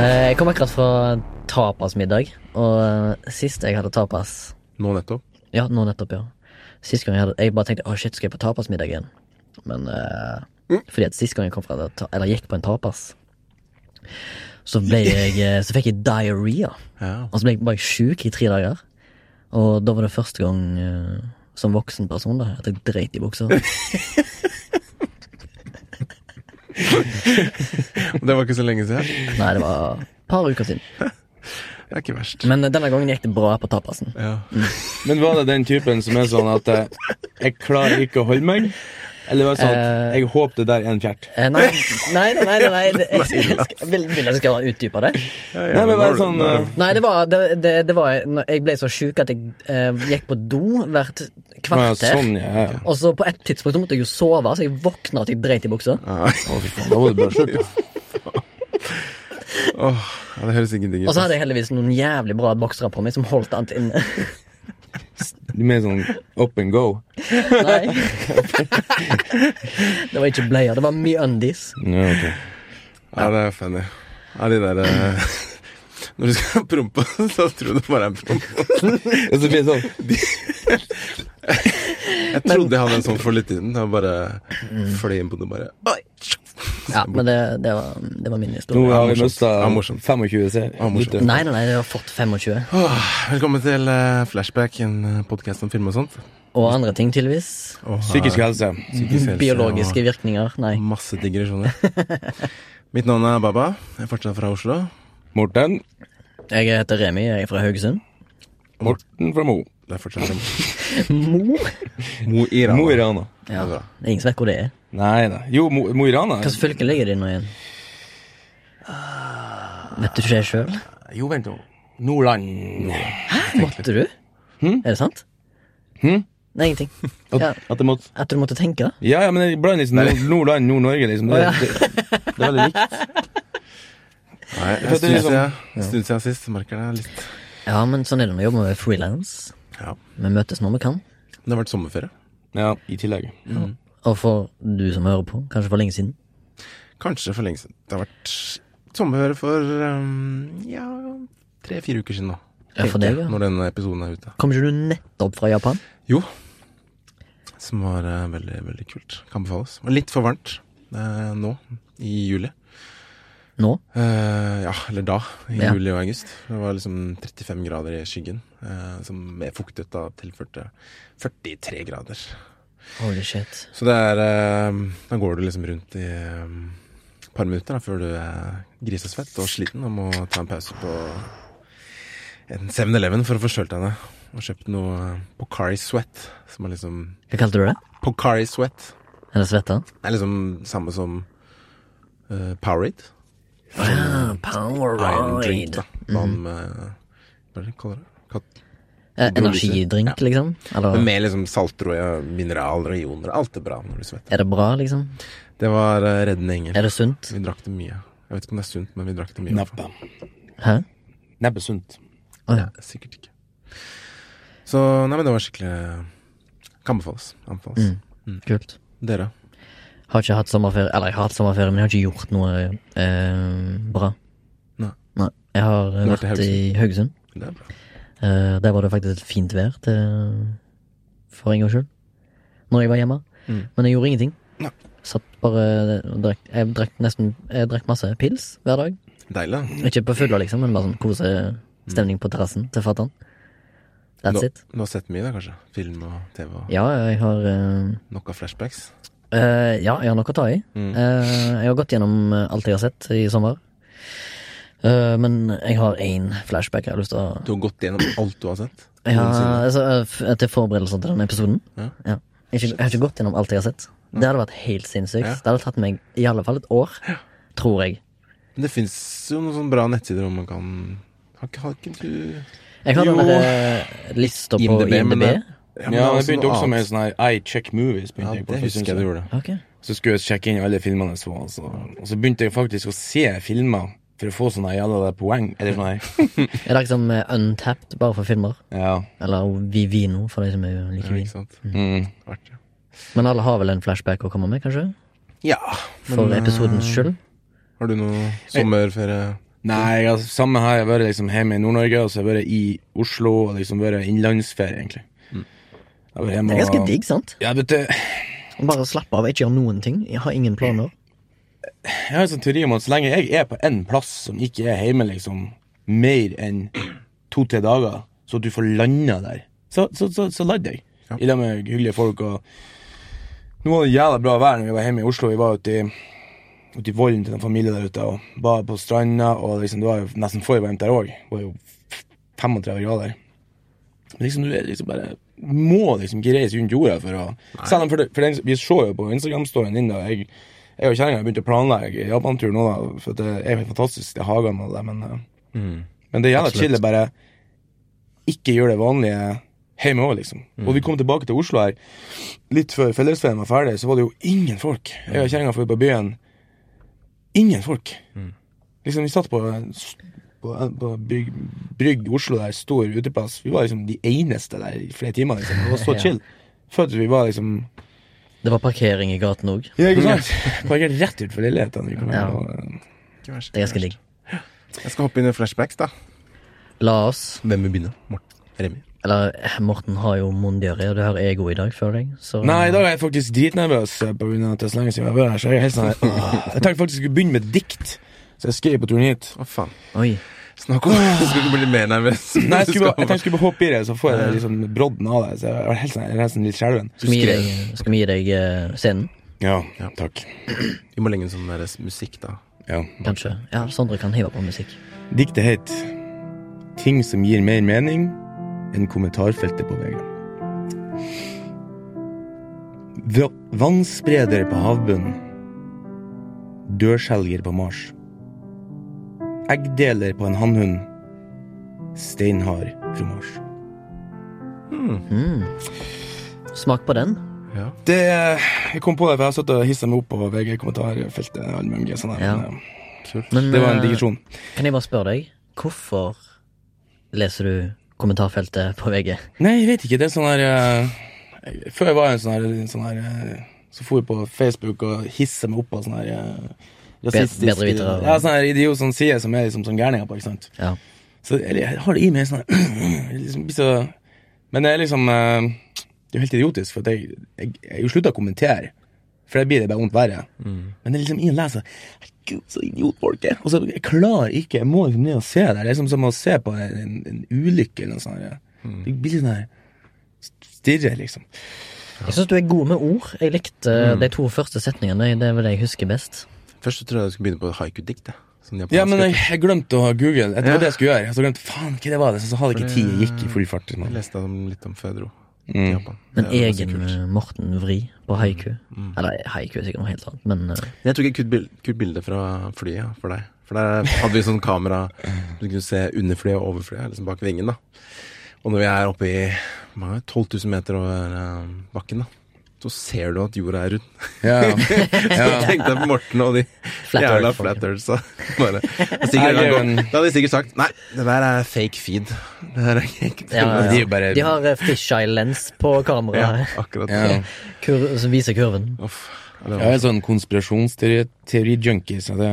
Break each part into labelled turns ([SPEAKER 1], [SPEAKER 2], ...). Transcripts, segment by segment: [SPEAKER 1] Eh, Jeg kom akkurat fra tapasmiddag, og eh, sist jeg hadde tapas
[SPEAKER 2] Nå nettopp.
[SPEAKER 1] Ja, nå nettopp, ja. Sist gang jeg hadde Jeg bare tenkte å shit, skal jeg på tapasmiddag igjen? Men eh, Fordi at sist gang jeg kom fra det ta- Eller gikk på en tapas, så ble jeg eh, Så fikk jeg diaré.
[SPEAKER 2] Ja.
[SPEAKER 1] Og så ble jeg bare sjuk i tre dager. Og da var det første gang eh, som voksen person da, at jeg dreit i buksa.
[SPEAKER 2] Det var ikke så lenge siden.
[SPEAKER 1] Nei, det var et par uker siden.
[SPEAKER 2] Det er ikke verst.
[SPEAKER 1] Men eh, denne gangen gikk det bra på tapasen.
[SPEAKER 2] Ja.
[SPEAKER 3] Men var det den typen som er sånn at eh, jeg klarer ikke å holde meg? Eller var det sånn at jeg håper det der er en fjert?
[SPEAKER 1] Eh, nei, nei, nei, nei, nei, nei. det- Jeg, jeg, skal- vil, vil jeg skal utdype det?
[SPEAKER 2] Ja,
[SPEAKER 3] Nei, men
[SPEAKER 2] nå
[SPEAKER 3] bare
[SPEAKER 2] er det-
[SPEAKER 3] sånn
[SPEAKER 2] nå er det-
[SPEAKER 3] eh,
[SPEAKER 1] Nei, det var, det, det, det var når Jeg ble så sjuk at jeg eh, gikk på do hvert
[SPEAKER 3] å ja,
[SPEAKER 1] kvarter.
[SPEAKER 3] Sånn, ja. ja.
[SPEAKER 1] Og så på et tidspunkt så måtte jeg jo sove, så jeg våkna at jeg dreit i buksa.
[SPEAKER 3] Å, fy faen, da var det bra slutt. da.
[SPEAKER 2] Åh, ja, det høres ingenting
[SPEAKER 1] Og
[SPEAKER 2] ut.
[SPEAKER 1] så hadde jeg heldigvis noen jævlig bra boksere på meg som holdt alt inne.
[SPEAKER 3] Du mener sånn up and go?
[SPEAKER 1] Nei. det var ikke bleier, det var mye undies.
[SPEAKER 3] Ja, ok.
[SPEAKER 2] Ja, det er funny. Ja, de der eh, Når du skal prompe, så tror du det bare er en promp.
[SPEAKER 3] Og så blir det sånn
[SPEAKER 2] Jeg trodde jeg hadde en sånn for litt siden. Jeg bare fløy inn på det bare Oi!
[SPEAKER 1] Ja, Men det, det, var, det var min
[SPEAKER 3] Nå
[SPEAKER 1] historie.
[SPEAKER 3] har vi
[SPEAKER 2] morsomt.
[SPEAKER 3] mista
[SPEAKER 2] Ja, morsomt.
[SPEAKER 3] 25 se.
[SPEAKER 2] morsomt.
[SPEAKER 3] lyttere.
[SPEAKER 1] Nei, nei, nei, jeg har fått 25.
[SPEAKER 2] Åh, Velkommen til eh, Flashback, en podkast om film og sånt.
[SPEAKER 1] Og andre ting, tydeligvis.
[SPEAKER 2] Og, eh,
[SPEAKER 3] Psykisk helse.
[SPEAKER 2] psykisk helse og
[SPEAKER 1] Biologiske virkninger. Nei.
[SPEAKER 2] Masse digresjoner. Mitt navn er Baba. Jeg er fortsatt fra Oslo.
[SPEAKER 3] Morten.
[SPEAKER 1] Jeg heter Remi, jeg er fra Haugesund.
[SPEAKER 3] Morten fra Mo.
[SPEAKER 2] Det er fortsatt
[SPEAKER 1] Mo?
[SPEAKER 2] Mo i
[SPEAKER 3] Mo i Rana.
[SPEAKER 1] Ja,
[SPEAKER 2] Det er bra.
[SPEAKER 1] det er Ingen som vet hvor det er.
[SPEAKER 3] Nei da. Jo, Mo Mo i Rana.
[SPEAKER 1] Hvilket fylke ligger det i nå igjen? Vet du ikke det sjøl?
[SPEAKER 3] Jo, vent nå. Nordland.
[SPEAKER 1] Måtte du? Er det sant? Nei, ingenting. Ja,
[SPEAKER 3] At det måtte
[SPEAKER 1] at du måtte tenke? da?
[SPEAKER 3] Ja, ja, men jeg blander liksom Nord- Nordland, Nord-Norge, liksom. Det,
[SPEAKER 1] Å, ja.
[SPEAKER 3] det, det er veldig likt.
[SPEAKER 2] Nei, en
[SPEAKER 3] For det er
[SPEAKER 2] stund
[SPEAKER 3] liksom-
[SPEAKER 2] siden en stund siden sist. Merker det er litt
[SPEAKER 1] Ja, men sånn er det når vi jobber med frilans.
[SPEAKER 2] Ja.
[SPEAKER 1] Vi møtes når vi kan.
[SPEAKER 2] Det har vært sommerferie.
[SPEAKER 3] Ja, i tillegg.
[SPEAKER 1] Og for du som hører på, kanskje for lenge siden.
[SPEAKER 2] Kanskje for lenge siden. Det har vært sommerferie for ehm, ja tre-fire uker siden nå.
[SPEAKER 1] Ja, for deg, ja.
[SPEAKER 2] Når denne episoden er ute.
[SPEAKER 1] Kom ikke du nettopp fra Japan?
[SPEAKER 2] Jo. Som var eh, veldig, veldig kult. Kan befales. Det var litt for varmt eh, nå i juli.
[SPEAKER 1] Nå?
[SPEAKER 2] Eh, ja, eller da. I
[SPEAKER 1] Ja.
[SPEAKER 2] juli og august. Det var liksom 35 grader i skyggen. eh, som med fuktet da tilførte 43 grader.
[SPEAKER 1] Holy shit.
[SPEAKER 2] Så det er eh, Da går du liksom rundt i eh, et par minutter da, før du er grisesvett og sliten og må ta en pause på en 7-Eleven for å få kjølt deg ned. Og kjøpt noe eh, Pocari Sweat, som er liksom
[SPEAKER 1] Hva kalte du det?
[SPEAKER 2] Pocari Sweat
[SPEAKER 1] Er det svetta?
[SPEAKER 2] er liksom samme som uh, Powerade.
[SPEAKER 1] Ah, Powerade.
[SPEAKER 2] Iron drink, da. Hva om eh, Hva er det de kaller det? Kat
[SPEAKER 1] Eh, energidrink, liksom?
[SPEAKER 2] Men
[SPEAKER 1] Eller
[SPEAKER 2] med liksom salter og mineraler og ioner. Alt er bra når du svetter.
[SPEAKER 1] er det bra, liksom?
[SPEAKER 2] Det var eh, reddende engel.
[SPEAKER 1] Er det sunt?
[SPEAKER 2] Vi drakk det mye. Jeg vet ikke om det er sunt, men vi drakk det mye. i hvert fall.
[SPEAKER 3] Neppe.
[SPEAKER 1] Hæ?
[SPEAKER 3] Neppe sunt.
[SPEAKER 1] Å ja.
[SPEAKER 2] Sikkert ikke. Så nei, men det var skikkelig eh, Kan anbefales. Anbefales.
[SPEAKER 1] Kult.
[SPEAKER 2] Dere?
[SPEAKER 1] Har ikke hatt sommerferie Eller, jeg har hatt sommerferie, men jeg har ikke gjort noe eh, bra.
[SPEAKER 2] Nei.
[SPEAKER 1] Nei. Jeg har eh,
[SPEAKER 2] Du har vært i
[SPEAKER 1] vært i Haugesund.
[SPEAKER 2] Det er bra.
[SPEAKER 1] Eh, der var det faktisk et fint vær til for en gangs skyld. Når jeg var hjemme.
[SPEAKER 2] Mm.
[SPEAKER 1] Men jeg gjorde ingenting.
[SPEAKER 2] Nei.
[SPEAKER 1] Satt bare og drakk Jeg drakk nesten Jeg drakk masse pils hver dag.
[SPEAKER 2] Deilig. da.
[SPEAKER 1] Ikke på fylla, liksom, men bare sånn
[SPEAKER 2] Mm.
[SPEAKER 1] kosestemning på terrassen til fatter'n. That's
[SPEAKER 2] Du,
[SPEAKER 1] it.
[SPEAKER 2] du har sett mye, da, kanskje? Film og TV og
[SPEAKER 1] Ja, jeg har eh,
[SPEAKER 2] nok av flashbacks?
[SPEAKER 1] eh, Ja, jeg har nok å ta i.
[SPEAKER 2] Mm.
[SPEAKER 1] Eh, jeg har gått gjennom eh, alt jeg har sett i sommer. Eh, men jeg har én flashback jeg har lyst til å
[SPEAKER 2] Du har gått gjennom alt du har sett?
[SPEAKER 1] Ja,
[SPEAKER 2] Noensinne.
[SPEAKER 1] altså, eh, f- til forberedelser til denne episoden.
[SPEAKER 2] Ja.
[SPEAKER 1] Jeg, har ikke, jeg har ikke gått gjennom alt jeg har sett. Det hadde vært helt sinnssykt.
[SPEAKER 2] Ja.
[SPEAKER 1] Det hadde tatt meg i alle fall et år, tror jeg.
[SPEAKER 2] Men det fins jo noen sånne bra nettsider hvor man kan Har ikke, har ikke du
[SPEAKER 1] Jeg har
[SPEAKER 2] Jo.
[SPEAKER 1] den derre lista på IMDb.
[SPEAKER 2] men det-
[SPEAKER 3] Ja,
[SPEAKER 2] men det
[SPEAKER 3] men
[SPEAKER 2] er
[SPEAKER 3] jeg begynte
[SPEAKER 2] noe
[SPEAKER 3] også med
[SPEAKER 2] annet.
[SPEAKER 3] sånn her I check movies.
[SPEAKER 2] Ja,
[SPEAKER 3] begynte
[SPEAKER 2] det
[SPEAKER 3] jeg på, for
[SPEAKER 2] husker jeg du
[SPEAKER 3] synes
[SPEAKER 2] gjorde.
[SPEAKER 1] Ok.
[SPEAKER 3] Så skulle jeg sjekke inn alle filmene jeg så, altså. Og så begynte jeg faktisk å se filmer for å få sånne jævla der poeng. Eller sånn her.
[SPEAKER 1] Er det liksom eh, untapped bare for filmer?
[SPEAKER 3] Ja.
[SPEAKER 1] Eller Vivino, for de som er liker
[SPEAKER 2] Ja,
[SPEAKER 1] vin.
[SPEAKER 2] ikke sant?
[SPEAKER 3] Mm.
[SPEAKER 2] Artig.
[SPEAKER 1] Men alle har vel en flashback å komme med, kanskje?
[SPEAKER 2] Ja.
[SPEAKER 1] For
[SPEAKER 2] men, eh,
[SPEAKER 1] episodens skyld.
[SPEAKER 2] Har du noe sommerferie
[SPEAKER 3] Nei, altså, samme her. Jeg har vært liksom hjemme i Nord-Norge, og så har jeg vært i Oslo, og liksom vært innlandsferie, egentlig. Jeg har vært hjemme
[SPEAKER 1] Det er ganske
[SPEAKER 3] og-
[SPEAKER 1] digg, sant?
[SPEAKER 3] Ja, vet du,
[SPEAKER 1] Bare slappe av, ikke gjøre noen ting. Jeg har ingen planer.
[SPEAKER 3] Jeg har en sånn teori om at så lenge jeg er på en plass som ikke er hjemme liksom, mer enn to-tre dager, så at du får landa der, så, så, så, så lander jeg. I lag med hyggelige folk. og Nå var det jævla bra vær når vi var hjemme i Oslo. Vi var ute i, ute i volden til en familie der ute og var på stranda. og liksom, Det var jo nesten for varmt der òg. Det var jo 35 grader. Men liksom, du er liksom bare må liksom ikke reise rundt jorda for å Selv om for, det- for den, Vi så jo på Instagram-storyen din da jeg, jeg og kjerringa begynte å planlegge Japan-tur nå, da, for at det er jo helt fantastisk, de hagene og det, men eh, Men det gjelder chill, bare ikke gjør det vanlige hjemme òg, liksom. Og vi kom tilbake til Oslo her litt før fellesferien var ferdig, så var det jo ingen folk. Jeg og kjerringa dro på byen. Ingen folk. Liksom, vi satt på en s- på, en- på brygg, brygg i Oslo der, stor uteplass. Vi var liksom de eneste der i flere timer. liksom. Det var så
[SPEAKER 1] Ja.
[SPEAKER 3] chill. Følte vi var liksom
[SPEAKER 1] Det var parkering i gaten òg.
[SPEAKER 3] Ja, ikke sant? Parkert rett utenfor leilighetene. vi kom
[SPEAKER 1] Ja.
[SPEAKER 3] inn, og, eh,
[SPEAKER 2] Ikke verst.
[SPEAKER 1] Det er ganske digg.
[SPEAKER 2] Jeg skal hoppe inn i flashbacks, da.
[SPEAKER 1] La oss
[SPEAKER 2] Hvem vil begynne? Morten? Remi?
[SPEAKER 1] Eller eh, Morten har jo mondiaré, og du har ego i dag, føler jeg. Så
[SPEAKER 3] Nei, i dag er jeg faktisk dritnervøs eh, på grunn av at det er så lenge siden jeg har vært her. Så jeg er helt sånn her, åh. Jeg tenkte faktisk jeg skulle begynne med et dikt, så jeg skrev på turen hit.
[SPEAKER 2] Å, faen.
[SPEAKER 1] Oi.
[SPEAKER 2] Snakk om Du skulle ikke bli mer nervøs.
[SPEAKER 3] Nei, jeg, skulle, bare- jeg tenkte jeg
[SPEAKER 2] Du
[SPEAKER 3] skulle bare hoppe i det, så får jeg liksom brodden av det. Så jeg var helt sånn, jeg er nesten litt skjelven.
[SPEAKER 1] Skal vi gi
[SPEAKER 2] skrev.
[SPEAKER 1] deg, skal vi gi deg eh, scenen,
[SPEAKER 3] Ja, takk.
[SPEAKER 2] Vi må legge inn sånn der musikk, da.
[SPEAKER 3] Ja.
[SPEAKER 1] kanskje? Ja, Sondre kan hive på musikk.
[SPEAKER 3] Diktet het Ting som gir mer mening enn kommentarfeltet på VG. V- Vannspreder på havbunnen. Dørskjelger på Mars. Eggdeler på en hannhund. Steinhard fra Mars.
[SPEAKER 1] Mm. Smak på den.
[SPEAKER 2] Ja.
[SPEAKER 3] Det, jeg kom på det, for jeg har satt og hissa meg opp på VG-kommentarfeltet. alle mulige sånne,
[SPEAKER 1] Ja.
[SPEAKER 3] men, eh,
[SPEAKER 2] Kult.
[SPEAKER 1] Men
[SPEAKER 3] Det var en
[SPEAKER 1] eh,
[SPEAKER 3] digresjon.
[SPEAKER 1] kan jeg bare spørre deg, hvorfor leser du kommentarfeltet på VG?
[SPEAKER 3] Nei, jeg vet ikke. Det er sånn her eh, Før jeg var en sånn her, en sånn her eh, Så for jeg på Facebook og hissa meg opp av sånn her eh, rasistisk
[SPEAKER 1] bedrevitere og-
[SPEAKER 3] Ja, sånn her idiot som sier som er liksom sånn gærninger på, ikke sant.
[SPEAKER 1] Ja.
[SPEAKER 3] Så eller, jeg har det i meg sånn her liksom, blir så, Men det er liksom eh, Det er jo helt idiotisk, for at jeg, jeg, jeg har jo slutta å kommentere. For da blir det bare vondt verre. Men det er liksom ingen leser. Gud, så idiot folk er. Og så jeg klarer ikke Jeg må liksom ned og se der. Det er liksom som å se på en, en, en ulykke eller noe sånt. Ja. Det blir sånn her Stirrer, liksom.
[SPEAKER 1] Jeg syns du er god med ord. Jeg likte eh, de to første setningene. Det er vel det jeg husker best.
[SPEAKER 2] Først så tror jeg du skulle begynne på haiku-dikt. jeg. Sånn japansk-
[SPEAKER 3] Ja, men jeg, jeg glemte å ha Google. Det var
[SPEAKER 2] Ja.
[SPEAKER 3] det jeg skulle gjøre. Så glemte faen hva det var. det, Så hadde jeg ikke tid. Jeg gikk i full fart.
[SPEAKER 2] Jeg
[SPEAKER 3] Liksom.
[SPEAKER 2] leste om, litt om Fødro.
[SPEAKER 3] Mm.
[SPEAKER 2] Japan.
[SPEAKER 1] En
[SPEAKER 2] Det er ganske
[SPEAKER 1] egen
[SPEAKER 2] kult. Mm.
[SPEAKER 1] eh, Morten Vri på haiku. Eller haiku er sikkert noe helt annet, men eh,
[SPEAKER 2] Jeg tok et kult, bil kult bilde fra flyet ja, for deg. For der hadde vi sånn kamera du kunne se under flyet og over flyet, liksom bak vingen. da. Og når vi er oppe i hvor mange er det? 12 000 meter over eh, bakken, da, så ser du at jorda er rund.
[SPEAKER 3] Ja.
[SPEAKER 2] Så tenkte jeg på Morten og de
[SPEAKER 1] Flat
[SPEAKER 2] jævla
[SPEAKER 1] Earth, folk.
[SPEAKER 2] flat earthsa. Bare- Og sikkert
[SPEAKER 3] Nei, det er jo
[SPEAKER 2] hadde
[SPEAKER 3] en-
[SPEAKER 2] gått- Da hadde de sikkert sagt nei, det der er fake feed. Det der er ikke ekte.
[SPEAKER 1] ja,
[SPEAKER 3] Men de er jo bare-
[SPEAKER 1] De har eh, fisheye-lens på
[SPEAKER 2] Ja,
[SPEAKER 1] kameraet,
[SPEAKER 2] akkurat.
[SPEAKER 3] ja.
[SPEAKER 1] kur som viser kurven.
[SPEAKER 2] Uff. Ja, det
[SPEAKER 3] Jeg er
[SPEAKER 2] var-
[SPEAKER 3] en sånn konspirasjonsteori-junkie, så det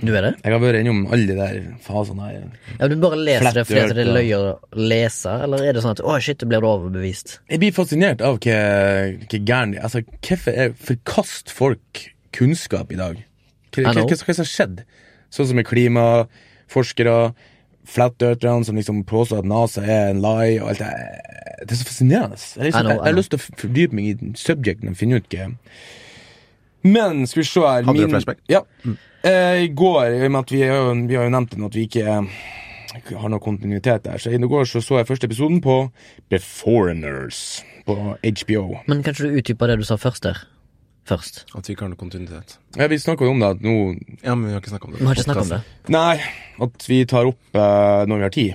[SPEAKER 1] Du er det?
[SPEAKER 3] Jeg har vært innom alle de der fasene her.
[SPEAKER 1] Ja, men Du bare leser
[SPEAKER 3] Flat
[SPEAKER 1] det fordi at det er
[SPEAKER 3] Earth,
[SPEAKER 1] løy å lese, eller er det sånn at å shit, du blir du overbevist?
[SPEAKER 3] Jeg blir fascinert av hva, hva gæren Altså, hvorfor er- forkast folk kunnskap i dag? Hva, hva,
[SPEAKER 1] I know.
[SPEAKER 3] hva, hva som har skjedd? Sånn som med klimaforskere, flat-eartherne som liksom påstår at NASA er en lie, og alt det Det er så fascinerende. Jeg,
[SPEAKER 1] I
[SPEAKER 3] liksom,
[SPEAKER 1] know, I
[SPEAKER 3] jeg, jeg har
[SPEAKER 1] know.
[SPEAKER 3] lyst til å f- fordype meg i subjecten og finne ut hva Men skal vi se her
[SPEAKER 2] Hadde du
[SPEAKER 3] min-
[SPEAKER 2] flashback?
[SPEAKER 3] Ja. Eh, I går, i og med at vi, er jo- vi har jo nevnt den at vi ikke eh, har noe kontinuitet der, så i går så, så jeg første episoden på The Foreigners på HBO.
[SPEAKER 1] Men kanskje du utdyper det du sa først der? Først.
[SPEAKER 2] At vi ikke har noe kontinuitet.
[SPEAKER 3] Ja, vi snakka jo om det at nå
[SPEAKER 2] Ja, men vi har ikke snakka om det.
[SPEAKER 1] Vi har ikke snakket om det.
[SPEAKER 3] Nei, at vi tar opp eh, når vi har tid.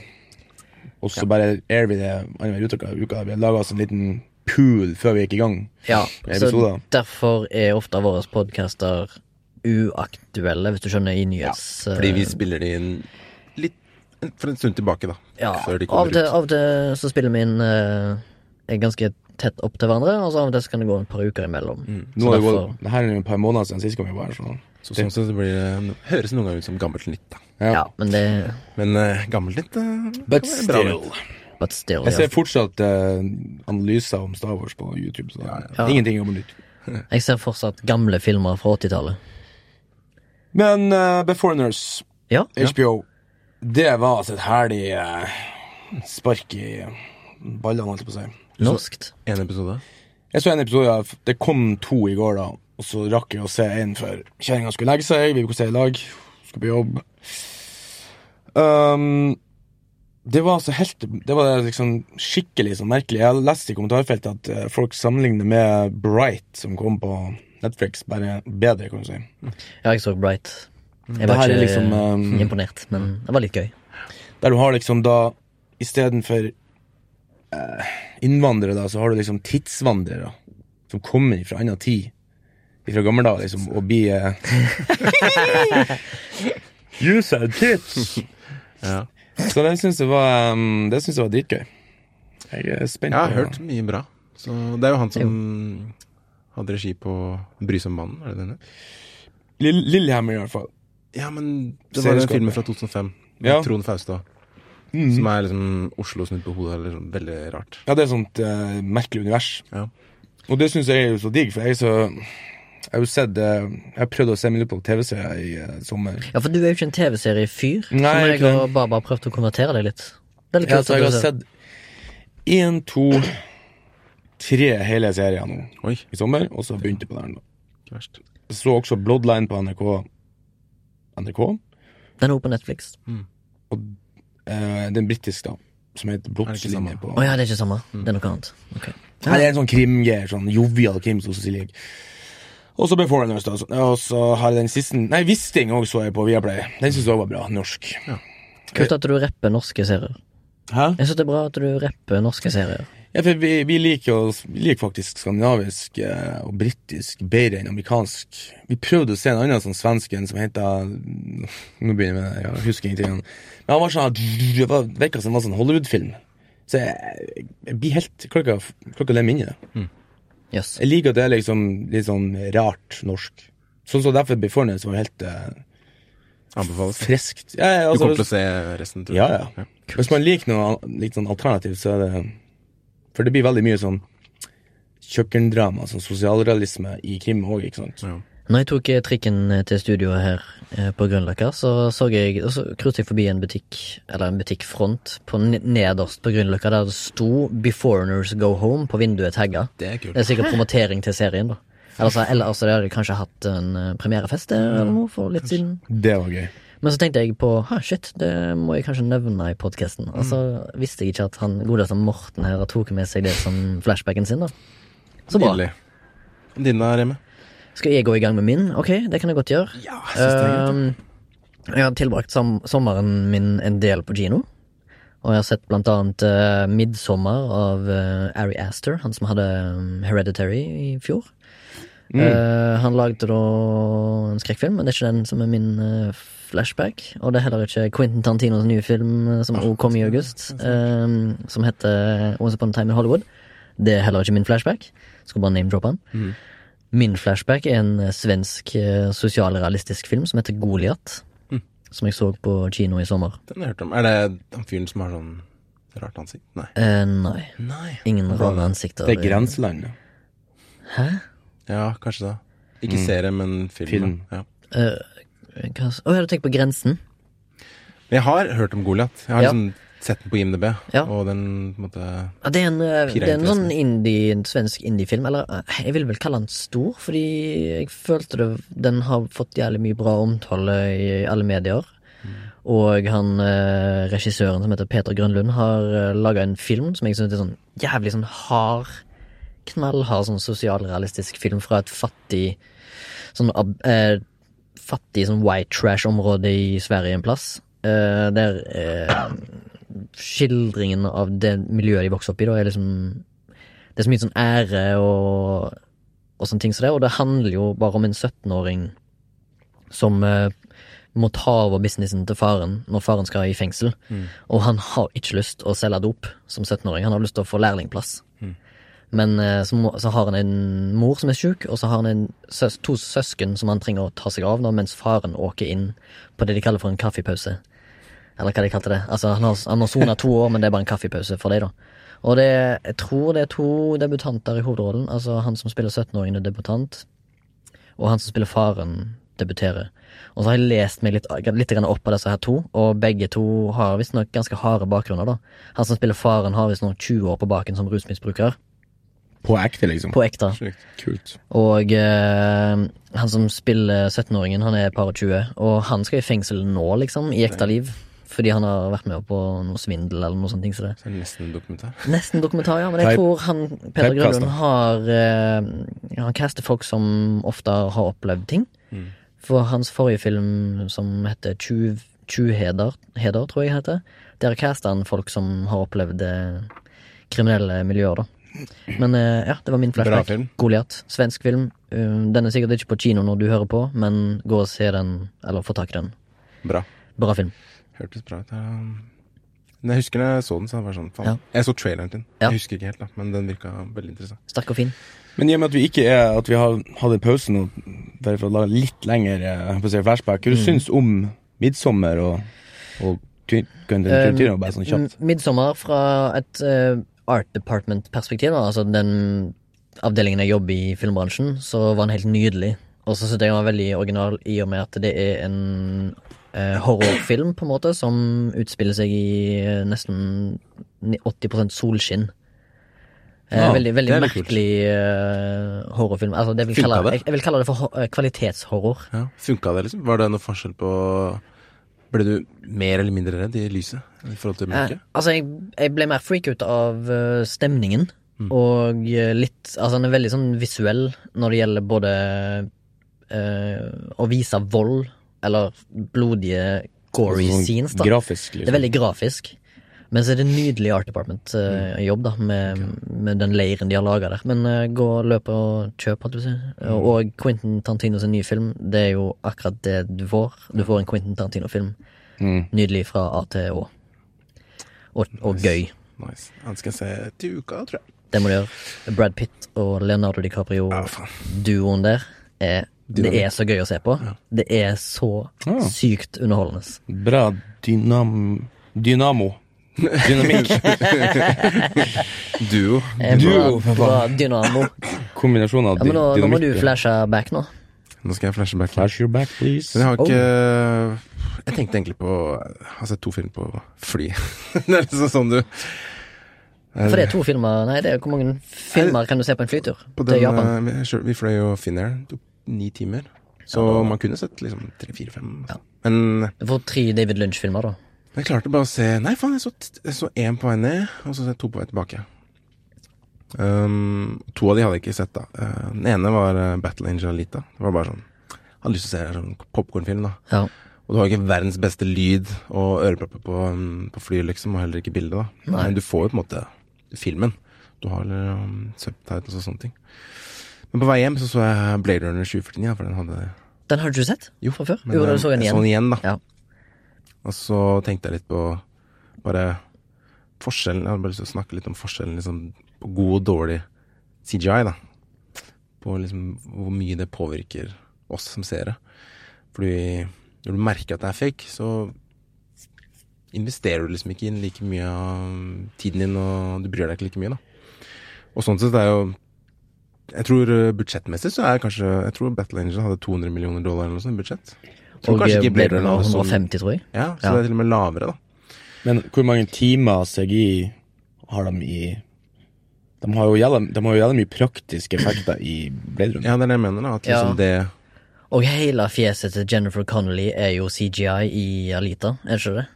[SPEAKER 3] Og så bare air vi det annenhver uke. uke. Vi lager oss en liten pool før vi gikk i gang.
[SPEAKER 1] Ja,
[SPEAKER 3] Med
[SPEAKER 1] så
[SPEAKER 3] episoder.
[SPEAKER 1] Derfor er ofte våre podcaster uaktuelle, hvis du skjønner, i nyhets...
[SPEAKER 2] Fordi vi spiller de inn litt for en stund tilbake, da.
[SPEAKER 1] Ja,
[SPEAKER 2] Før de
[SPEAKER 1] av
[SPEAKER 2] kommer
[SPEAKER 1] og til-
[SPEAKER 2] ut.
[SPEAKER 1] av og til så spiller vi inn eh, er ganske tett opp til hverandre, og så av og til så kan det gå et par uker imellom.
[SPEAKER 3] Mm. Nå
[SPEAKER 1] Så
[SPEAKER 3] har det
[SPEAKER 1] derfor,
[SPEAKER 3] gått det her er jo et par måneder siden sist gang vi var her. sånn.
[SPEAKER 2] Så sånn sett så blir det høres noen ganger ut som gammelt nytt, da.
[SPEAKER 1] Ja, men det
[SPEAKER 2] Men eh, gammelt litt eh,
[SPEAKER 3] But
[SPEAKER 2] kan være bra
[SPEAKER 3] still.
[SPEAKER 2] litt.
[SPEAKER 1] But still,
[SPEAKER 3] Jeg
[SPEAKER 1] ja.
[SPEAKER 3] ser fortsatt eh, analyser om Star Wars på YouTube. Så
[SPEAKER 1] ja.
[SPEAKER 3] Ingenting om nytt.
[SPEAKER 1] Jeg ser fortsatt gamle filmer fra 80-tallet.
[SPEAKER 3] Men eh, Beforeigners,
[SPEAKER 1] Ja.
[SPEAKER 3] HBO, det var altså et herlig eh, spark i ballene, holdt jeg på å si.
[SPEAKER 1] Norskt.
[SPEAKER 2] En episode.
[SPEAKER 3] Jeg så en episode av Det kom to i går, da. Og så rakk jeg å se en før kjerringa skulle legge seg. Vi skulle se i lag. Skulle på jobb. Um, det var altså helt Det var liksom skikkelig sånn merkelig. Jeg leste i kommentarfeltet at eh, folk sammenligner med Bright, som kom på Netflix, bare bedre, kan du si.
[SPEAKER 1] Ja, jeg så Bright. Jeg
[SPEAKER 3] Det
[SPEAKER 1] var
[SPEAKER 3] her
[SPEAKER 1] ikke
[SPEAKER 3] er liksom um,
[SPEAKER 1] imponert, men det var litt gøy.
[SPEAKER 3] Der du har liksom da Istedenfor eh, innvandrere, da, så har du liksom tidsvandrere. Som kommer fra anna tid. Fra gamle dager, liksom, og blir eh... You said tits!
[SPEAKER 2] Ja.
[SPEAKER 3] så det syns jeg var um, Det synes jeg var dritgøy. Jeg er spent.
[SPEAKER 2] Jeg har
[SPEAKER 3] på-
[SPEAKER 2] hørt mye bra. Så det er jo han som hadde regi på 'Bry som mannen', er det den heter?
[SPEAKER 3] Lill Lillehammer, i hvert fall.
[SPEAKER 2] Ja, men det var den
[SPEAKER 3] Serieskapet.
[SPEAKER 2] filmen fra 2005 med
[SPEAKER 3] Ja. Mhm.
[SPEAKER 2] Trond Faustad. Som er liksom Oslo snudd på hodet, eller sånn veldig rart.
[SPEAKER 3] Ja, det er et sånt eh, merkelig univers.
[SPEAKER 2] Ja.
[SPEAKER 3] Og det syns jeg er jo så digg, for jeg er så Jeg har jo sett eh, Jeg har prøvd å se mye på TV-serier i eh, sommer.
[SPEAKER 1] Ja, for du er jo ikke en TV-serie-fyr, som
[SPEAKER 3] Nei,
[SPEAKER 1] jeg
[SPEAKER 3] ikke det.
[SPEAKER 1] og Baba har prøvd å konvertere deg litt. Det er litt
[SPEAKER 3] Ja,
[SPEAKER 1] kult
[SPEAKER 3] så jeg
[SPEAKER 1] at
[SPEAKER 3] har
[SPEAKER 1] du ser.
[SPEAKER 3] sett én, to, tre hele serier nå
[SPEAKER 2] Oi,
[SPEAKER 3] i sommer, og så begynte jeg på den.
[SPEAKER 2] ikke verst.
[SPEAKER 3] Jeg så også Bloodline på NRK. NRK?
[SPEAKER 1] Den er også på Netflix.
[SPEAKER 3] Mm. Eh, den britiske, da. Som heter Blodslinje
[SPEAKER 2] samme?
[SPEAKER 3] på
[SPEAKER 1] Å ja, det er ikke samme.
[SPEAKER 3] Mm.
[SPEAKER 1] Det er noe annet. Ok.
[SPEAKER 3] Nei, det er en sånn krimgreier. Sånn jovial krim som Cecilie Haig. Og så Beforeigners, da. så- altså. Og så har jeg den siste Nei, Wisting òg så jeg på Viaplay. Den syns jeg var bra. Norsk.
[SPEAKER 1] Kult at du rapper norske serier.
[SPEAKER 3] Hæ?
[SPEAKER 1] Jeg synes det er bra at du rapper norske serier.
[SPEAKER 3] Ja, for vi, vi liker jo vi liker faktisk skandinavisk eh, og britisk bedre enn amerikansk. Vi prøvde å se en annen sånn svensk en som heter Nå begynner jeg med det, jeg husker ingenting. Men han var sånn Det var- virka som en sånn Hollywood-film. Så jeg, jeg blir helt klokka, klokka lem inn i det.
[SPEAKER 1] Jøss.
[SPEAKER 3] Jeg liker at det er liksom litt sånn rart norsk. Sånn som derfor Befornes var helt eh,
[SPEAKER 2] Anbefales.
[SPEAKER 3] friskt. Ja, ja,
[SPEAKER 2] Du
[SPEAKER 3] altså,
[SPEAKER 2] kommer til å se resten, tror
[SPEAKER 3] ja, ja.
[SPEAKER 2] Ja.
[SPEAKER 3] Hvis man liker noe an- litt sånn alternativt, så er det For det blir veldig mye sånn kjøkkendrama, sånn sosialrealisme i krim òg, ikke sant?
[SPEAKER 2] Ja.
[SPEAKER 1] Når jeg tok eh, trikken til studioet her eh, på Grünerløkka, så så jeg og så cruiset jeg forbi en butikk, eller en butikkfront, på ne- nederst på Grünerløkka, der det sto 'Beforeigners Go Home' på vinduet tagga.
[SPEAKER 2] Det er kult.
[SPEAKER 1] Det er sikkert promotering til serien, da. Eller så eller, altså, de hadde kanskje hatt en eh, premierefest der, eller noe for litt siden.
[SPEAKER 3] Det var gøy.
[SPEAKER 1] Men så tenkte jeg på ha, shit, det må jeg kanskje nevne i podkasten. Og så
[SPEAKER 2] Mm.
[SPEAKER 1] visste jeg ikke at han godeste Morten her tok med seg det som flashbacken sin, da. Så bra.
[SPEAKER 2] Nydelig. Dine er hjemme?
[SPEAKER 1] Skal jeg gå i gang med min? Ok, det kan jeg godt gjøre.
[SPEAKER 2] Ja, jeg synes
[SPEAKER 3] Eh,
[SPEAKER 2] det er greit.
[SPEAKER 1] Ehm, jeg har tilbrakt som sommeren min en del på kino. Og jeg har sett blant annet eh, 'Midsommer' av eh, Ari Aster, han som hadde eh, 'Hereditary' i fjor. Eh, han lagde da en skrekkfilm, men det er ikke den som er min eh, flashback. Og det er heller ikke Quentin Tarantinos nye film, eh, som også kom i august, ehm, som heter 'Once Upon a Time in Hollywood'. Det er heller ikke min flashback. Skal bare name-droppe han. Min flashback er en eh, svensk eh, sosialrealistisk film som heter Goliat. Som jeg så på kino i sommer.
[SPEAKER 2] Den har jeg hørt om. Er det han fyren som har sånn rart ansikt? Nei.
[SPEAKER 1] Eh, nei.
[SPEAKER 2] Nei.
[SPEAKER 1] Ingen rare ansikter.
[SPEAKER 3] Det er grenseland.
[SPEAKER 1] Hæ?
[SPEAKER 2] Ja, kanskje det. Ikke serie, men film.
[SPEAKER 3] Mm. Film.
[SPEAKER 2] Ja.
[SPEAKER 1] Eh, hva s- Å, jeg hadde tenkt på Grensen.
[SPEAKER 2] Men Jeg har hørt om Goliat. Jeg har
[SPEAKER 1] Ja.
[SPEAKER 2] liksom sett den på IMDb,
[SPEAKER 1] Ja.
[SPEAKER 2] og den på en måte
[SPEAKER 1] Ja, det er en, eh, det er en
[SPEAKER 2] Piratgrensen.
[SPEAKER 1] sånn indie, en svensk indiefilm. Eller eh, jeg vil vel kalle den stor, fordi jeg følte det, den har fått jævlig mye bra omtale i alle medier. Og han eh, regissøren som heter Peter Grønlund, har eh, laga en film som jeg syns er sånn jævlig sånn hard, knallhard sånn sosialrealistisk film fra et fattig sånn ab- eh, fattig sånn white trash-område i Sverige en plass. Eh, der eh, skildringen av det miljøet de vokser opp i, da, er liksom Det er så mye sånn ære og, og sånne ting som det, og det handler jo bare om en 17-åring som eh, må ta over businessen til faren når faren skal i fengsel. Og han har ikke lyst å selge dop som 17-åring, han har lyst til å få lærlingplass. Men eh, så, må, så har han en mor som er sjuk, og så har han en søs, to søsken som han trenger å ta seg av, da, mens faren åker inn på det de kaller for en kaffepause. Eller hva de kalte det. Altså, han har, han har sona to år, men det er bare en kaffepause for deg, da. Og det, jeg tror det er to debutanter i hovedrollen. Altså han som spiller 17-åringen, er debutant. Og han som spiller faren, debuterer. Og så har jeg lest meg litt, litt grann opp på disse her to, og begge to har visstnok ganske harde bakgrunner. da. Han som spiller faren, har visstnok 20 år på baken som rusmisbruker.
[SPEAKER 3] På ekte, liksom.
[SPEAKER 1] På ekte.
[SPEAKER 2] Sjukt.
[SPEAKER 3] Kult.
[SPEAKER 1] Og eh, han som spiller 17-åringen, han er par og 20, og han skal i fengsel nå, liksom, i ekte liv. Fordi han har vært med på noe svindel eller noe sånt. ting som det.
[SPEAKER 2] Så er det nesten en dokumentar.
[SPEAKER 1] Nesten dokumentar, ja, men jeg
[SPEAKER 3] Teip-
[SPEAKER 1] tror han, Peder
[SPEAKER 3] teipkast, da.
[SPEAKER 1] Grønlund har eh, Han caster folk som ofte har opplevd ting.
[SPEAKER 2] Mm.
[SPEAKER 1] For hans forrige film, som heter Tjuv- Tjuvheder, Heder, tror jeg heter, der casta han folk som har opplevd eh, kriminelle miljøer, da. Men eh, ja, det var min
[SPEAKER 2] Bra film.
[SPEAKER 1] flashback. Goliat. Svensk film. Um, Den er sikkert ikke på kino når du hører på, men gå og se den, eller få tak i den.
[SPEAKER 2] Bra.
[SPEAKER 1] Bra film.
[SPEAKER 2] Hørtes bra ut. ja. Men jeg husker da jeg så den, så jeg var sånn faen.
[SPEAKER 1] Ja.
[SPEAKER 2] Jeg så traileren din.
[SPEAKER 1] Ja.
[SPEAKER 2] Jeg husker ikke helt, da, men den virka veldig interessant.
[SPEAKER 1] Sterk og fin.
[SPEAKER 3] Men i og med at vi ikke er At vi har hatt en pause nå, bare for å lage litt lengre eh, jeg får si, flashback, hva
[SPEAKER 1] Mm.
[SPEAKER 3] du syns om midtsommer og, og Ty- Quentin Tarantino, bare sånn kjapt?
[SPEAKER 1] Eh, M- Midtsommer fra et eh, art department-perspektiv, da, altså den avdelingen jeg jobber i i filmbransjen, så var den helt nydelig. Og så syns jeg den var veldig original i og med at det er en eh, horrorfilm, på en måte, som utspiller seg i eh, nesten ni- 80 solskinn. Eh,
[SPEAKER 3] Ja,
[SPEAKER 1] veldig veldig
[SPEAKER 2] det er litt kult.
[SPEAKER 1] merkelig eh, horrorfilm. Altså, det vil
[SPEAKER 2] Funka
[SPEAKER 1] kalle,
[SPEAKER 2] det?
[SPEAKER 1] jeg, jeg vil kalle det for ho eh, kvalitetshorror.
[SPEAKER 2] Ja. Funka det, liksom? Var det noe forskjell på Ble du mer eller mindre redd i lyset i forhold til
[SPEAKER 1] Eh,
[SPEAKER 2] mørket?
[SPEAKER 1] altså, jeg, jeg ble mer freak ut av eh, stemningen. Og eh, litt Altså, han er veldig sånn visuell når det gjelder både eh, å vise vold, eller blodige gory
[SPEAKER 3] Sånn
[SPEAKER 1] scenes, da.
[SPEAKER 3] Grafisk, liksom.
[SPEAKER 1] Det er veldig grafisk. Men så er det nydelig Art
[SPEAKER 3] Mm.
[SPEAKER 1] Department-jobb, da, med, med den leiren de har laga der. Men eh, gå og løp og kjøp, holdt jeg på å si.
[SPEAKER 3] Mm.
[SPEAKER 1] Og Quentin Tarantino sin nye film, det er jo akkurat det du får. Du får en Quentin Tarantino-film.
[SPEAKER 3] Mm.
[SPEAKER 1] Nydelig fra A til Å. Og, og gøy.
[SPEAKER 2] Nice. Han skal jeg se til uka, tror jeg.
[SPEAKER 1] Det må du gjøre. Brad Pitt og Leonardo
[SPEAKER 2] faen.
[SPEAKER 1] DiCaprio-duoen der er Det er så gøy å se på. Det er så
[SPEAKER 3] Ja.
[SPEAKER 1] sykt underholdende.
[SPEAKER 3] Bra dynam... Dynamo. Dynamikk.
[SPEAKER 2] Duo.
[SPEAKER 1] Eh,
[SPEAKER 3] Duo,
[SPEAKER 1] bra,
[SPEAKER 3] for faen.
[SPEAKER 1] bra dynamo.
[SPEAKER 3] Kombinasjon av
[SPEAKER 1] Ja, men nå, nå må du
[SPEAKER 3] dynamikk.
[SPEAKER 1] flashe back nå.
[SPEAKER 2] Nå skal jeg flashe back.
[SPEAKER 3] Flash your back, please.
[SPEAKER 2] Men jeg har
[SPEAKER 1] Oh.
[SPEAKER 2] ikke Jeg tenkte egentlig på Jeg har sett to film på fly. det er liksom sånn du
[SPEAKER 1] For det er to filmer Nei, det er, hvor mange filmer kan du se på en flytur?
[SPEAKER 2] På den,
[SPEAKER 1] Til Japan?
[SPEAKER 2] eh, vi- sure, vi fløy jo Finnair. Det tok ni timer. Så man kunne sett liksom tre, fire, fem. Men
[SPEAKER 1] Du får tre David Lynch-filmer, da.
[SPEAKER 2] jeg klarte bare å se Nei, faen, jeg så t- jeg så én på vei ned, og så så jeg to på vei tilbake. Um, to av de hadde jeg ikke sett, da. Eh, den ene var eh, Battle Angel Alita. Det var bare sånn Hadde lyst til å se en sånn popkornfilm, da.
[SPEAKER 1] Ja.
[SPEAKER 2] Og du har ikke verdens beste lyd og ørepropper på, um, på flyet, liksom, og heller ikke bilde, da.
[SPEAKER 1] Nei.
[SPEAKER 2] Men du får jo på en måte filmen. Du har um, subtitles og sånne ting. Men på vei hjem så så jeg Blade Runner 2049, da, for den hadde
[SPEAKER 1] Den har du ikke sett?
[SPEAKER 2] Jo,
[SPEAKER 1] fra før?
[SPEAKER 2] men,
[SPEAKER 1] Jo, da
[SPEAKER 2] um,
[SPEAKER 1] du så den
[SPEAKER 2] jeg
[SPEAKER 1] igjen.
[SPEAKER 2] så den igjen, da.
[SPEAKER 1] Ja.
[SPEAKER 2] Og så tenkte jeg litt på bare forskjellen Jeg hadde bare lyst til å snakke litt om forskjellen liksom, på god og dårlig CGI, da. På liksom hvor mye det påvirker oss som seere. Fordi når du merker at det er fake, så investerer du liksom ikke inn like mye av tiden din, og du bryr deg ikke like mye, da. Og sånn sett er jo jeg tror eh, budsjettmessig så er kanskje Jeg tror Battle Angel hadde 200 millioner dollar eller noe sånt i budsjett. Jeg tror
[SPEAKER 1] Og eh,
[SPEAKER 2] kanskje ikke Blade Runner
[SPEAKER 1] Runner
[SPEAKER 2] hadde sånn-
[SPEAKER 1] 150, tror jeg.
[SPEAKER 2] ja, så
[SPEAKER 1] Ja.
[SPEAKER 2] det er til og med lavere, da.
[SPEAKER 3] Men hvor mange timer CGI har de i De har jo jævla, de har jo jævla mye praktiske effekter i Blade Runner.
[SPEAKER 2] Ja, det er det jeg mener, da. At
[SPEAKER 1] Ja.
[SPEAKER 2] liksom det
[SPEAKER 1] Og hele fjeset til Jennifer Connolly er jo CGI i Alita, er det ikke det?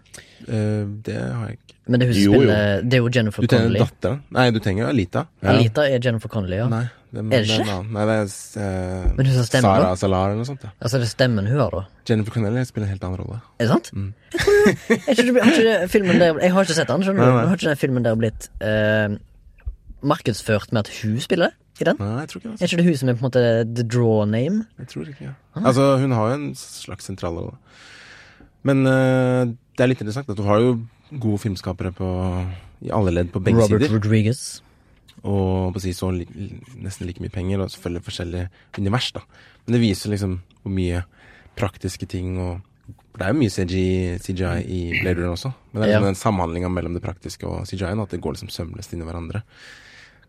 [SPEAKER 2] eh, Det har jeg ikke
[SPEAKER 1] Men det hun
[SPEAKER 3] Jo, jo.
[SPEAKER 1] spiller Det er jo Jennifer
[SPEAKER 2] Du trenger
[SPEAKER 1] Connolly.
[SPEAKER 2] datteren? Nei, du trenger jo Alita.
[SPEAKER 1] Alita er Jennifer Connolly, ja.
[SPEAKER 2] Nei, det,
[SPEAKER 1] Er det
[SPEAKER 2] er
[SPEAKER 1] ikke?
[SPEAKER 2] en annen. Nei, det er eh,
[SPEAKER 1] Men hun som stemmer,
[SPEAKER 2] Sara
[SPEAKER 1] da?
[SPEAKER 2] Salar eller noe sånt. Ja.
[SPEAKER 1] Altså, det er stemmen hun har, da.
[SPEAKER 2] Jennifer Connelly spiller en helt annen rolle.
[SPEAKER 1] Er det sant?
[SPEAKER 2] Mm.
[SPEAKER 1] Jeg tror det. Er ikke, det- har ikke det filmen der Jeg har ikke sett den, skjønner du.
[SPEAKER 2] Nei, nei.
[SPEAKER 1] Men Har ikke den filmen der blitt eh, markedsført med at hun spiller i den?
[SPEAKER 2] Nei, jeg tror ikke det.
[SPEAKER 1] Er ikke det hun som er på en måte the draw name?
[SPEAKER 2] Altså. Jeg tror ikke, ja.
[SPEAKER 1] Ah.
[SPEAKER 2] altså, hun har jo en slags sentral rolle. Men eh, det er litt interessant at du har jo gode filmskapere på i alle ledd på begge
[SPEAKER 1] Robert
[SPEAKER 2] sider.
[SPEAKER 1] Rodriguez.
[SPEAKER 2] og på å si så li, nesten like mye penger, og selvfølgelig forskjellig univers, da. Men det viser liksom hvor mye praktiske ting og for Det er jo mye CGI, CGI i Blade Runner også, men det er liksom
[SPEAKER 1] Ja.
[SPEAKER 2] den samhandlinga mellom det praktiske og CGI-en, at det går liksom sømløst inn i hverandre.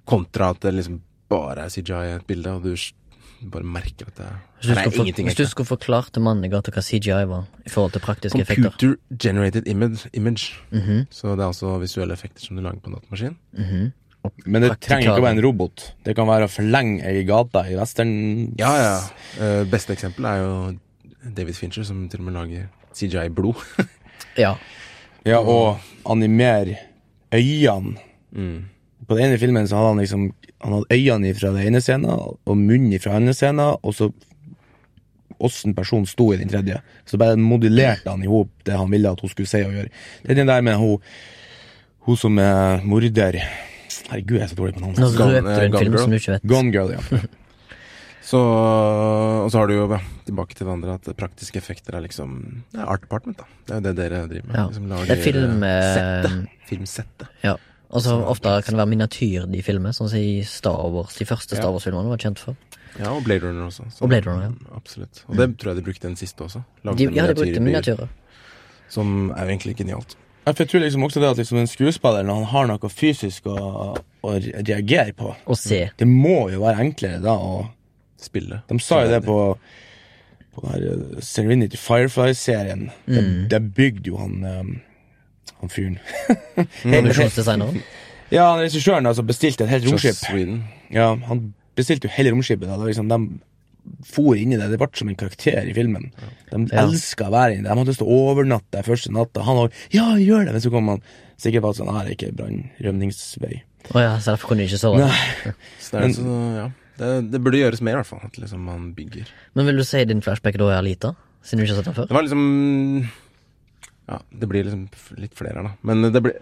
[SPEAKER 2] Kontra at det liksom bare er CGI i et bilde, og du s- bare merker at det
[SPEAKER 1] Hvis du,
[SPEAKER 2] Her
[SPEAKER 1] skulle,
[SPEAKER 2] er
[SPEAKER 1] for,
[SPEAKER 2] ingenting
[SPEAKER 1] hvis du
[SPEAKER 2] ekte.
[SPEAKER 1] skulle forklart til mannen i gata hva CGI var i forhold til praktiske effekter Mhm.
[SPEAKER 2] Computer generated image, image. Så det er altså visuelle effekter som du lager på en datamaskin.
[SPEAKER 3] Men det
[SPEAKER 1] Praktikal.
[SPEAKER 3] trenger ikke å være en robot. Det kan være å forlenge ei gate i western.
[SPEAKER 2] Ja, ja. Eh, beste eksempel er jo David Fincher, som til og med lager CGI-blod.
[SPEAKER 1] Ja.
[SPEAKER 3] Ja, og animere øynene. På den ene filmen så hadde han liksom Han hadde øynene fra den ene scenen og munnen fra den andre scenen, og så åssen personen sto i den tredje. Så bare modellerte han i hop det han ville at hun skulle si og gjøre. Det er den der med hun Hun som er morder Herregud, jeg er så dårlig på
[SPEAKER 1] Nå
[SPEAKER 3] navn.
[SPEAKER 2] Gone-
[SPEAKER 1] røpte du
[SPEAKER 2] eh,
[SPEAKER 1] en
[SPEAKER 2] Gone
[SPEAKER 1] film
[SPEAKER 2] Girl.
[SPEAKER 1] som du ikke vet.
[SPEAKER 3] Gone Girl, ja.
[SPEAKER 2] Så, og så har du jo, ja, tilbake til det andre, at praktiske effekter er liksom det er art department, da. Det er jo det dere driver med.
[SPEAKER 1] Ja.
[SPEAKER 2] Liksom lager
[SPEAKER 1] Det er film, eh,
[SPEAKER 2] settet. Filmsettet.
[SPEAKER 1] Ja. Og så ofte kan det være miniatyr de filmer, sånn som i Star Wars, de første Star Wars-filmene var kjent for.
[SPEAKER 2] Ja, og Blade Runner også. så-
[SPEAKER 1] Og Blade Runner, ja.
[SPEAKER 2] Absolutt. Og det tror jeg de brukte den siste også. Lagde
[SPEAKER 1] De, ja, de brukte
[SPEAKER 2] miniatyrbyer,
[SPEAKER 1] miniatyrer.
[SPEAKER 2] Som er jo egentlig genialt.
[SPEAKER 3] Ja, for Jeg tror liksom også det at liksom en skuespiller Når han har noe fysisk å, å re- reagere på
[SPEAKER 1] Og se.
[SPEAKER 3] Det må jo være enklere da og
[SPEAKER 2] Spille.
[SPEAKER 3] De sa jo det på På den her eh, Serenity Firefly-serien Der Der bygde jo han um, Han fyren
[SPEAKER 1] Produksjonsdesigneren.
[SPEAKER 3] Ja, han regissøren altså bestilte et helt
[SPEAKER 2] Just
[SPEAKER 3] romskip
[SPEAKER 2] Sweden.
[SPEAKER 3] Ja, han bestilte jo hele romskipet da Det var liksom de for inn i det, det ble som en karakter i filmen De
[SPEAKER 1] Ja.
[SPEAKER 3] elsket å være inne, de hadde lyst til å overnatte der første natta Han var, ja, gjør det, men så kom han Sikkert bare sånn, her er ikke brannrømningsvei
[SPEAKER 1] Å ja, så derfor kunne de ikke sove.
[SPEAKER 3] Nei.
[SPEAKER 2] Så det, er, så, ja. det, det burde gjøres mer, i hvert fall. At liksom man bygger.
[SPEAKER 1] Men vil du si din flashback da er lita? Siden du ikke har sett den
[SPEAKER 2] Det
[SPEAKER 1] før?
[SPEAKER 2] var liksom Ja, det blir liksom f- litt flere her, da. Men det ble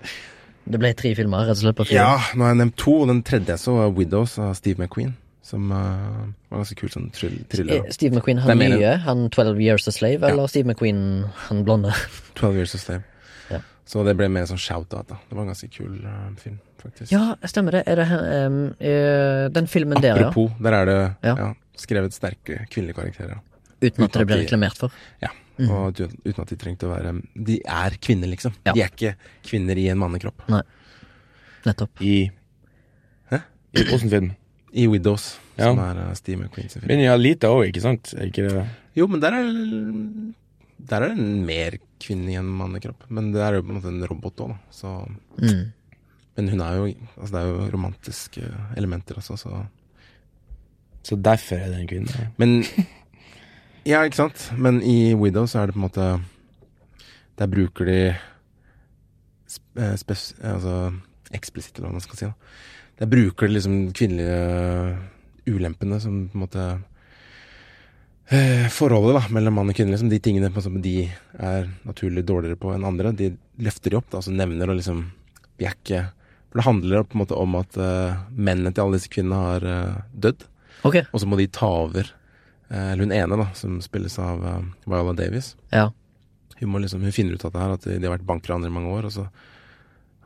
[SPEAKER 1] Det ble tre filmer, rett og slett, på fire.
[SPEAKER 2] Ja, nå har jeg nevnt to. Og den tredje jeg så, var Widows av Steve McQueen. Som eh, var ganske kul sånn trill- thriller.
[SPEAKER 1] Eh, Steve McQueen, han
[SPEAKER 2] Det er mer
[SPEAKER 1] nye, han 12 Years a Slave, eller Steve McQueen, han blonde?
[SPEAKER 2] 12 Years a Slave.
[SPEAKER 1] Ja.
[SPEAKER 2] Så det ble mer sånn shout-out, da. Det var en ganske kul eh, film, faktisk.
[SPEAKER 1] Ja, stemmer det. Er det her, em, eh, den filmen der, ja.
[SPEAKER 2] Apropos, der er det
[SPEAKER 1] Ja.
[SPEAKER 2] ja. skrevet sterke kvinnelige karakterer.
[SPEAKER 1] Uten at
[SPEAKER 2] uten
[SPEAKER 1] det
[SPEAKER 2] at
[SPEAKER 1] blir
[SPEAKER 2] de-
[SPEAKER 1] reklamert for.
[SPEAKER 2] Ja. Og du, uten at de trengte å være De er kvinner, liksom.
[SPEAKER 1] Mm. Ja.
[SPEAKER 2] De er ikke kvinner i en mannekropp.
[SPEAKER 1] Nei. Nettopp.
[SPEAKER 3] I
[SPEAKER 2] Hæ?
[SPEAKER 3] I Åsen film.
[SPEAKER 2] I Widows,
[SPEAKER 3] Ja.
[SPEAKER 2] som er eh, Steve McQueen sin film.
[SPEAKER 3] Men ja, lite òg, ikke sant? Er Ikke det?
[SPEAKER 2] Jo, men der er Der er det en mer kvinne i en mannekropp. Men det er jo på en måte en robot òg, da. Så
[SPEAKER 1] Mm.
[SPEAKER 2] Men hun er jo Altså, det er jo romantiske elementer også, så
[SPEAKER 3] Så derfor er det en kvinne.
[SPEAKER 2] Men Ja, ikke sant? Men i Widow så er det på en måte Der bruker de sp- eh, spes, Altså eksplisitt, eller hva man skal si. Da. Der bruker de liksom kvinnelige ulempene som på en måte eh, Forholdet da, mellom mann og kvinne, liksom, de tingene på- som de er naturlig dårligere på enn andre, de løfter de opp da, altså nevner og liksom Vi er ikke For det handler på en måte om at eh, mennene til alle disse kvinnene har eh, dødd.
[SPEAKER 1] Ok,
[SPEAKER 2] Og så må de ta over eh, Eller hun ene, da, som spilles av eh, Viola Davis.
[SPEAKER 1] ja.
[SPEAKER 2] Hun, må liksom, hun finner ut av det her, at de har vært bankranere i mange år. Og så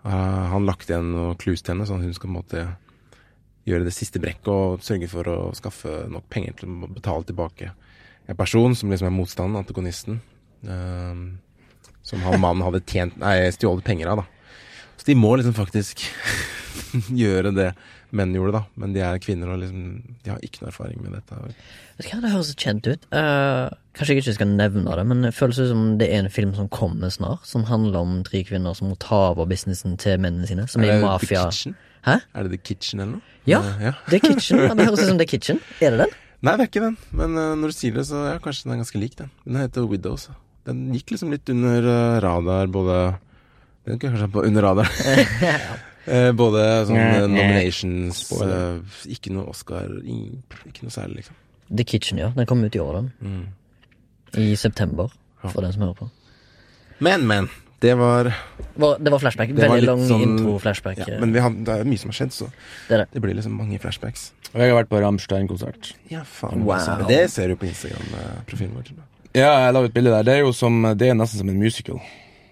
[SPEAKER 2] har han lagt igjen noen clues til henne, sånn at hun skal på en måte gjøre det siste brekket og sørge for å skaffe nok penger til å betale tilbake en person som liksom er motstanden, antagonisten. eh, som han mannen hadde tjent, nei, stjålet penger av, da. Så de må liksom faktisk gjøre det menn gjorde, da. Men de er kvinner og liksom De har ikke noe erfaring med dette.
[SPEAKER 1] Vet du hva, det høres kjent ut. Eh, kanskje jeg ikke skal nevne det, men det føles ut som det er en film som kommer snart, som handler om tre kvinner som må ta over businessen til mennene sine, som er i
[SPEAKER 2] det The
[SPEAKER 1] mafia.
[SPEAKER 2] Kitchen?
[SPEAKER 1] Hæ?
[SPEAKER 2] Er det The Kitchen eller noe?
[SPEAKER 1] Ja,
[SPEAKER 2] Eh, ja.
[SPEAKER 1] The Kitchen. Ja, det høres ut som The Kitchen. Er det den?
[SPEAKER 2] Nei, det er ikke den. Men eh, når du sier det, så ja, kanskje den er ganske lik, den. Den heter Widows. ja. Den gikk liksom litt under eh, radar, både Den gikk kanskje på under radar. Eh, både sånn eh, nominations
[SPEAKER 3] Spoiler.
[SPEAKER 2] eh, Ikke noe Oscar, ing- ikke noe særlig, liksom.
[SPEAKER 1] The Kitchen, ja. Den kom ut i år, den.
[SPEAKER 2] Mm.
[SPEAKER 1] I september, for den som hører på.
[SPEAKER 2] Men, men. Det var
[SPEAKER 1] Var- Det var flashback.
[SPEAKER 2] det var
[SPEAKER 1] Veldig
[SPEAKER 2] litt
[SPEAKER 1] lang
[SPEAKER 2] sånn-
[SPEAKER 1] intro-flashback.
[SPEAKER 2] Ja, men vi har, det er mye som har skjedd, så
[SPEAKER 1] eh, Det er det.
[SPEAKER 2] det blir liksom mange flashbacks.
[SPEAKER 3] Og jeg har vært på Rammstein-konsert.
[SPEAKER 2] Ja, faen.
[SPEAKER 1] Wow.
[SPEAKER 2] altså. Men Det ser du på Instagram-profilen eh, vår. tror jeg.
[SPEAKER 3] Ja, jeg la ut bilde der. Det er jo som, det er nesten som en musical.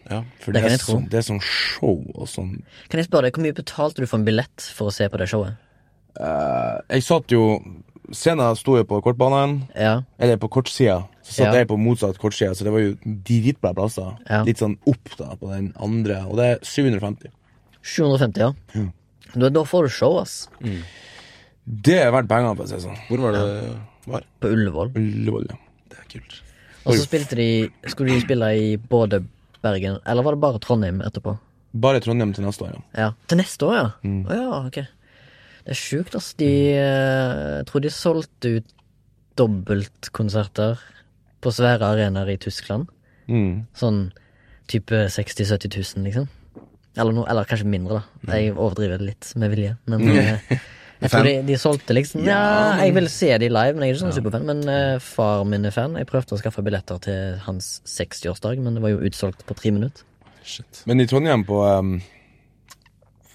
[SPEAKER 2] Ja.
[SPEAKER 3] For
[SPEAKER 1] Det
[SPEAKER 3] det,
[SPEAKER 1] kan
[SPEAKER 3] er
[SPEAKER 1] jeg tro.
[SPEAKER 3] sånn, det er sånn show og sånn
[SPEAKER 1] Kan jeg spørre deg, Hvor mye betalte du for en billett for å se på det showet?
[SPEAKER 3] Eh, Jeg satt jo Scenen sto jo på kortbanen,
[SPEAKER 1] Ja,
[SPEAKER 3] eller på kortsida. Så satt
[SPEAKER 1] Ja.
[SPEAKER 3] jeg på motsatt kortsida, så det var jo dritbra plasser.
[SPEAKER 1] Ja.
[SPEAKER 3] Litt sånn opp da på den andre, og det er 750.
[SPEAKER 1] 750, ja.
[SPEAKER 2] Mm.
[SPEAKER 1] Da, da får du show, ass.
[SPEAKER 3] Det er verdt pengene, for å si det sånn.
[SPEAKER 2] Hvor var det det var?
[SPEAKER 1] På Ullevål.
[SPEAKER 3] Ullevål, ja.
[SPEAKER 2] Det er kult.
[SPEAKER 1] Og så spilte de Skulle de spille i både Bergen Eller var det bare Trondheim etterpå?
[SPEAKER 3] Bare Trondheim til neste år, ja.
[SPEAKER 1] Ja. Til neste år, ja? Å ja, ok. Det er sjukt, ass. De eh, Jeg tror de solgte ut dobbeltkonserter på svære arenaer i Tyskland.
[SPEAKER 3] Mm.
[SPEAKER 1] Sånn type 60 000-70 000, liksom. Eller, noe, eller kanskje mindre, da. Jeg overdriver det litt med vilje. Men eh, jeg tror de, de solgte liksom Ja, jeg ville se de live, men jeg er ikke sånn superfan. Men eh, far min er fan. Jeg prøvde å skaffe billetter til hans 60-årsdag, men det var jo utsolgt på tre minutter.
[SPEAKER 2] Shit.
[SPEAKER 3] Men i Trondheim på um,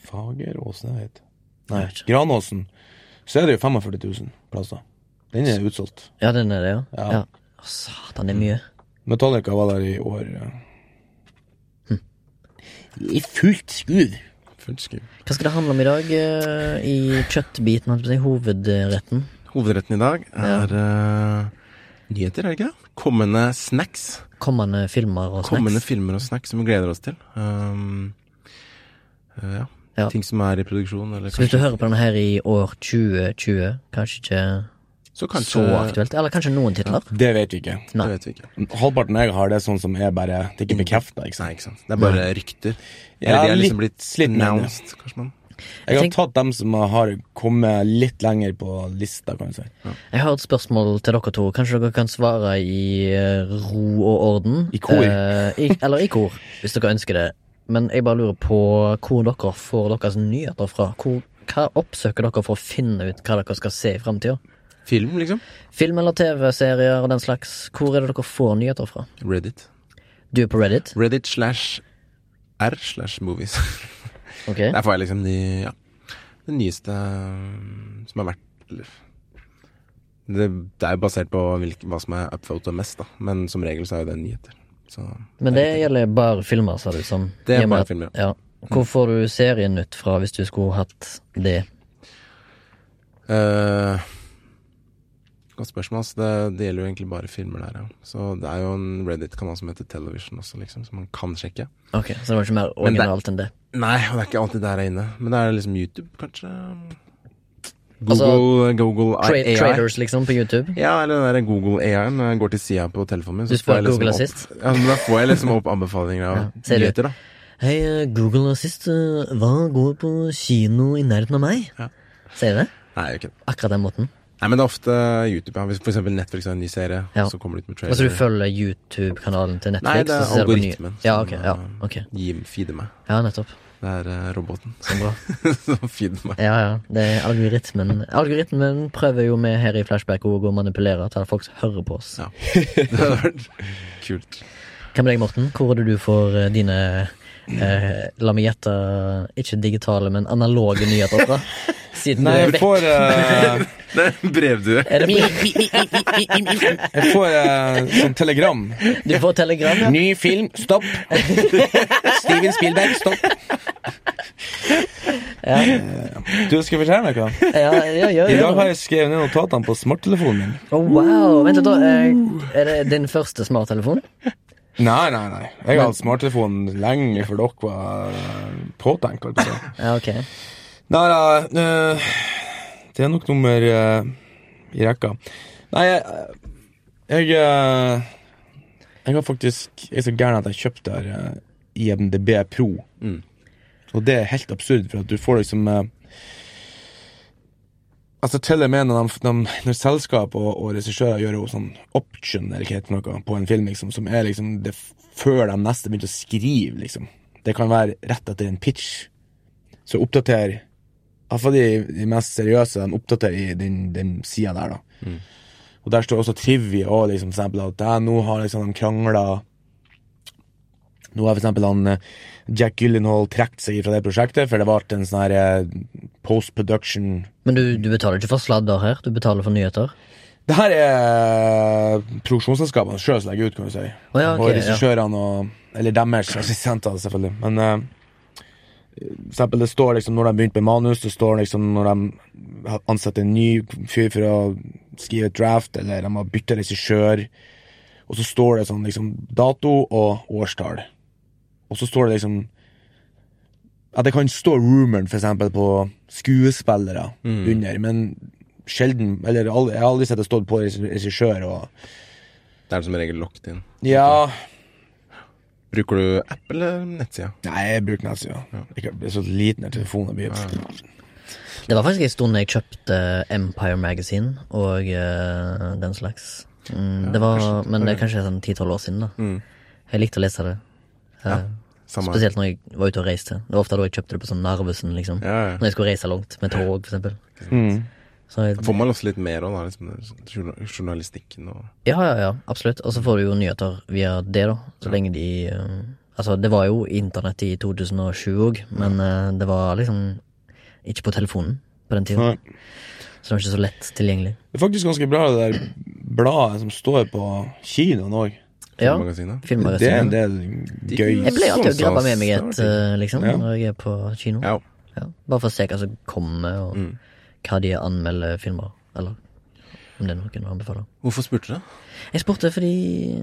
[SPEAKER 3] Fageråsen, er det heter Nei,
[SPEAKER 1] Jeg vet ikke.
[SPEAKER 3] Granåsen, så er det jo 45 000 plasser. Den er utsolgt.
[SPEAKER 1] Ja, den er det, ja.
[SPEAKER 3] Ja.
[SPEAKER 1] ja. Å, satan, det er mye.
[SPEAKER 3] Metallica var der i år. ja. Hm. I fullt skudd.
[SPEAKER 2] Fullt skudd.
[SPEAKER 1] Hva skal det handle om i dag eh, i kjøttbiten, holdt jeg på å si, hovedretten?
[SPEAKER 2] Hovedretten i dag er eh, nyheter, er det ikke det? Kommende snacks.
[SPEAKER 1] Kommende filmer og snacks?
[SPEAKER 2] Kommende filmer og snacks som vi gleder oss til. Um, eh, ja.
[SPEAKER 1] Ja.
[SPEAKER 2] Ting som er i produksjon, eller
[SPEAKER 1] Så hvis du hører på den her i år 2020, kanskje ikke
[SPEAKER 2] Så
[SPEAKER 1] så
[SPEAKER 2] kanskje
[SPEAKER 1] aktuelt? Eller kanskje noen titler?
[SPEAKER 3] Det vet vi ikke.
[SPEAKER 2] Det vet vi ikke.
[SPEAKER 3] Halvparten jeg har, det er sånn som er bare Det er ikke bekrefta.
[SPEAKER 2] Nei, ikke sant. Det er bare rykter. Eller
[SPEAKER 3] Ja,
[SPEAKER 2] de er liksom
[SPEAKER 3] litt-
[SPEAKER 2] blitt
[SPEAKER 3] litt mindre.
[SPEAKER 2] announced, kanskje man.
[SPEAKER 3] Jeg har
[SPEAKER 1] tenk-
[SPEAKER 3] tatt dem som har kommet litt lenger på lista, kan du si.
[SPEAKER 1] Jeg har et spørsmål til dere to. Kanskje dere kan svare i eh, ro og orden?
[SPEAKER 3] I kor.
[SPEAKER 1] Eh, i, eller i kor, hvis dere ønsker det. Men jeg bare lurer på hvor dere får deres nyheter fra. Hvor, hva oppsøker dere for å finne ut hva dere skal se i framtida?
[SPEAKER 2] Film, liksom.
[SPEAKER 1] Film eller TV-serier og den slags. Hvor er det dere får nyheter fra?
[SPEAKER 2] Reddit.
[SPEAKER 1] Du er på Reddit?
[SPEAKER 2] Reddit slash R slash movies.
[SPEAKER 1] Ok.
[SPEAKER 2] Der får jeg liksom de Ja. Det nyeste um, som har vært eller, det, det er jo basert på hvilk, hva som er upvoted mest, da. Men som regel så er jo det nyheter. Så
[SPEAKER 1] Men det gjelder bare filmer, sa du? Som
[SPEAKER 2] Det er
[SPEAKER 1] gir meg
[SPEAKER 2] bare
[SPEAKER 1] at-
[SPEAKER 2] filmer,
[SPEAKER 1] ja. Hvor får du serien ut fra hvis du skulle hatt det?
[SPEAKER 2] eh, Godt spørsmål. ass. det, det gjelder jo egentlig bare filmer der, ja. Så det er jo en Reddit-kanal som heter Television også, liksom, som man kan sjekke.
[SPEAKER 1] Ok, Så det var ikke mer
[SPEAKER 2] Men det-
[SPEAKER 1] originalt enn det?
[SPEAKER 2] Nei, og det er ikke alltid der jeg er inne. Men det er liksom YouTube, kanskje.
[SPEAKER 1] Altså,
[SPEAKER 2] Google, Google
[SPEAKER 1] Tra
[SPEAKER 2] AI.
[SPEAKER 1] traders, liksom, på YouTube?
[SPEAKER 2] Ja, eller den der Google AI når jeg går til sida på telefonen min. så
[SPEAKER 1] Du spør
[SPEAKER 2] får jeg liksom
[SPEAKER 1] Google
[SPEAKER 2] opp-
[SPEAKER 1] Assist?
[SPEAKER 2] Ja, men da får jeg liksom opp anbefalinger av
[SPEAKER 1] Ja, ser du.
[SPEAKER 2] nyheter, da.
[SPEAKER 1] Hei, eh, Google Assist, eh, hva går på kino i nærheten av meg?
[SPEAKER 2] Ja.
[SPEAKER 1] Sier det?
[SPEAKER 2] Nei, jeg gjør ikke det. Nei,
[SPEAKER 1] Akkurat den måten.
[SPEAKER 2] men det er ofte YouTube. Ja. Hvis for eksempel Netflix har en ny serie,
[SPEAKER 1] Ja.
[SPEAKER 2] så kommer det ut med
[SPEAKER 1] Altså du følger
[SPEAKER 2] trailer.
[SPEAKER 1] YouTube-kanalen til Netflix?
[SPEAKER 2] Eh. Nei, det er
[SPEAKER 1] og så ser du på nye-
[SPEAKER 2] algoritmen
[SPEAKER 1] Ja,
[SPEAKER 2] som,
[SPEAKER 1] ok. Ja,
[SPEAKER 2] eh,
[SPEAKER 1] ok.
[SPEAKER 2] Gi, feede meg.
[SPEAKER 1] ja nettopp.
[SPEAKER 2] Det er eh, roboten
[SPEAKER 1] Så bra.
[SPEAKER 2] som feeder meg.
[SPEAKER 1] Ja, ja. Det er algoritmen. Algoritmen prøver jo vi her i Flashback å gå og manipulere til at folk hører på oss.
[SPEAKER 2] Ja. Det hadde vært kult.
[SPEAKER 1] Hva med deg, Morten? Hvor er det du får eh, dine eh, La meg gjette ikke digitale, men analoge nyheter fra? Siden
[SPEAKER 3] Nei,
[SPEAKER 1] du er
[SPEAKER 3] jeg
[SPEAKER 1] vekk.
[SPEAKER 3] får eh,
[SPEAKER 2] Det er en brevdue.
[SPEAKER 1] Er det på-
[SPEAKER 3] Jeg får eh, sånn telegram.
[SPEAKER 1] Du får telegram, ja?
[SPEAKER 3] Ny film, stopp. Steven Spielberg, stopp. Du, skal jeg fortelle deg noe?
[SPEAKER 1] Ja, ja, ja,
[SPEAKER 3] I dag
[SPEAKER 1] ja.
[SPEAKER 3] har jeg skrevet ned notatene på smarttelefonen min.
[SPEAKER 1] Å, Oh, wow. Vent litt, da. eh, Er det din første smarttelefon?
[SPEAKER 3] Nei, nei, nei. Jeg har hatt smarttelefon lenge før dere var påtenkt. altså. holdt jeg på å si.
[SPEAKER 1] Ja, ok.
[SPEAKER 3] Nei da, øh, det er nok nummer øh, i rekka. Nei, jeg Jeg, øh, jeg har faktisk Jeg er så gæren at jeg kjøpte her øh, IMDb Pro.
[SPEAKER 2] Mm.
[SPEAKER 3] Og det er helt absurd, for at du får liksom øh, Altså Til og med når, de, de, når selskap og, og regissører gjør jo sånn option eller hva det heter for noe, på en film, liksom, som er liksom det f- før de neste begynte å skrive, liksom. Det kan være rett etter en pitch. Så oppdater Iallfall de, de mest seriøse, de oppdaterer i den, den sida der, da. Og der står også trivia og liksom, for eksempel at ja, nå har liksom de krangla nå har for eksempel han eh, Jack Gyllenhaal trukket seg fra det prosjektet, for det ble en sånn her eh, post-production
[SPEAKER 1] Men du, du betaler ikke for sladder her? Du betaler for nyheter?
[SPEAKER 3] Det her er produksjonsselskapene sjøl som legger ut, kan du si.
[SPEAKER 1] Å ja, ok,
[SPEAKER 3] og regissørene og Eller deres assistenter, selvfølgelig. Men eh, for eksempel, det står liksom når de begynte med manus, det står liksom når de ansetter en ny fyr for å skrive et draft, eller de har bytta regissør, og så står det sånn liksom dato og årstall. Og så står det liksom at det kan stå rumoren, for eksempel, på skuespillere
[SPEAKER 1] Mm.
[SPEAKER 3] under, men sjelden Eller aldri, jeg har aldri sett det stått på regissør og
[SPEAKER 2] Det er som regel locked in.
[SPEAKER 3] Ja.
[SPEAKER 2] Bruker du app eller nettsida?
[SPEAKER 3] Nei, jeg bruker nettsida. Ikke- Jeg er så liten her telefonen blir.
[SPEAKER 1] Det var faktisk en stund jeg kjøpte Empire Magazine og eh, den slags. Mm, det var, men det er kanskje sånn 10-12 år siden. da Jeg likte å lese det. Eh,
[SPEAKER 2] Samme her.
[SPEAKER 1] spesielt når jeg var ute og reiste. Det var ofte da jeg kjøpte det på sånn Narvesen. liksom
[SPEAKER 2] Ja, ja.
[SPEAKER 1] Når jeg skulle reise langt med tog, for eksempel.
[SPEAKER 3] Mm.
[SPEAKER 1] Så jeg,
[SPEAKER 2] Får man også litt mer av da, liksom, journal- journalistikken og
[SPEAKER 1] ja, ja, ja, absolutt. Og så får du jo nyheter via det, da. Så lenge de eh, Altså, det var jo internett i 2007 òg, men eh, det var liksom ikke på telefonen på den tida.
[SPEAKER 3] Nei.
[SPEAKER 1] Så det var ikke så lett tilgjengelig.
[SPEAKER 3] Det er faktisk ganske bra, det der bladet som står på kinoen òg.
[SPEAKER 1] Ja,
[SPEAKER 2] filmmagasinet?
[SPEAKER 1] filmmagasinet.
[SPEAKER 3] Det er en del sånn gøy
[SPEAKER 1] Jeg pleier alltid å grabbe med meg et,
[SPEAKER 2] Starting.
[SPEAKER 1] eh, liksom,
[SPEAKER 3] Ja.
[SPEAKER 1] når jeg er på kino.
[SPEAKER 2] Ja.
[SPEAKER 1] Ja, bare for å se hva som kommer, og hva de anmelder filmer, eller om det er noen å anbefale.
[SPEAKER 2] Hvorfor spurte du?
[SPEAKER 1] Jeg spurte fordi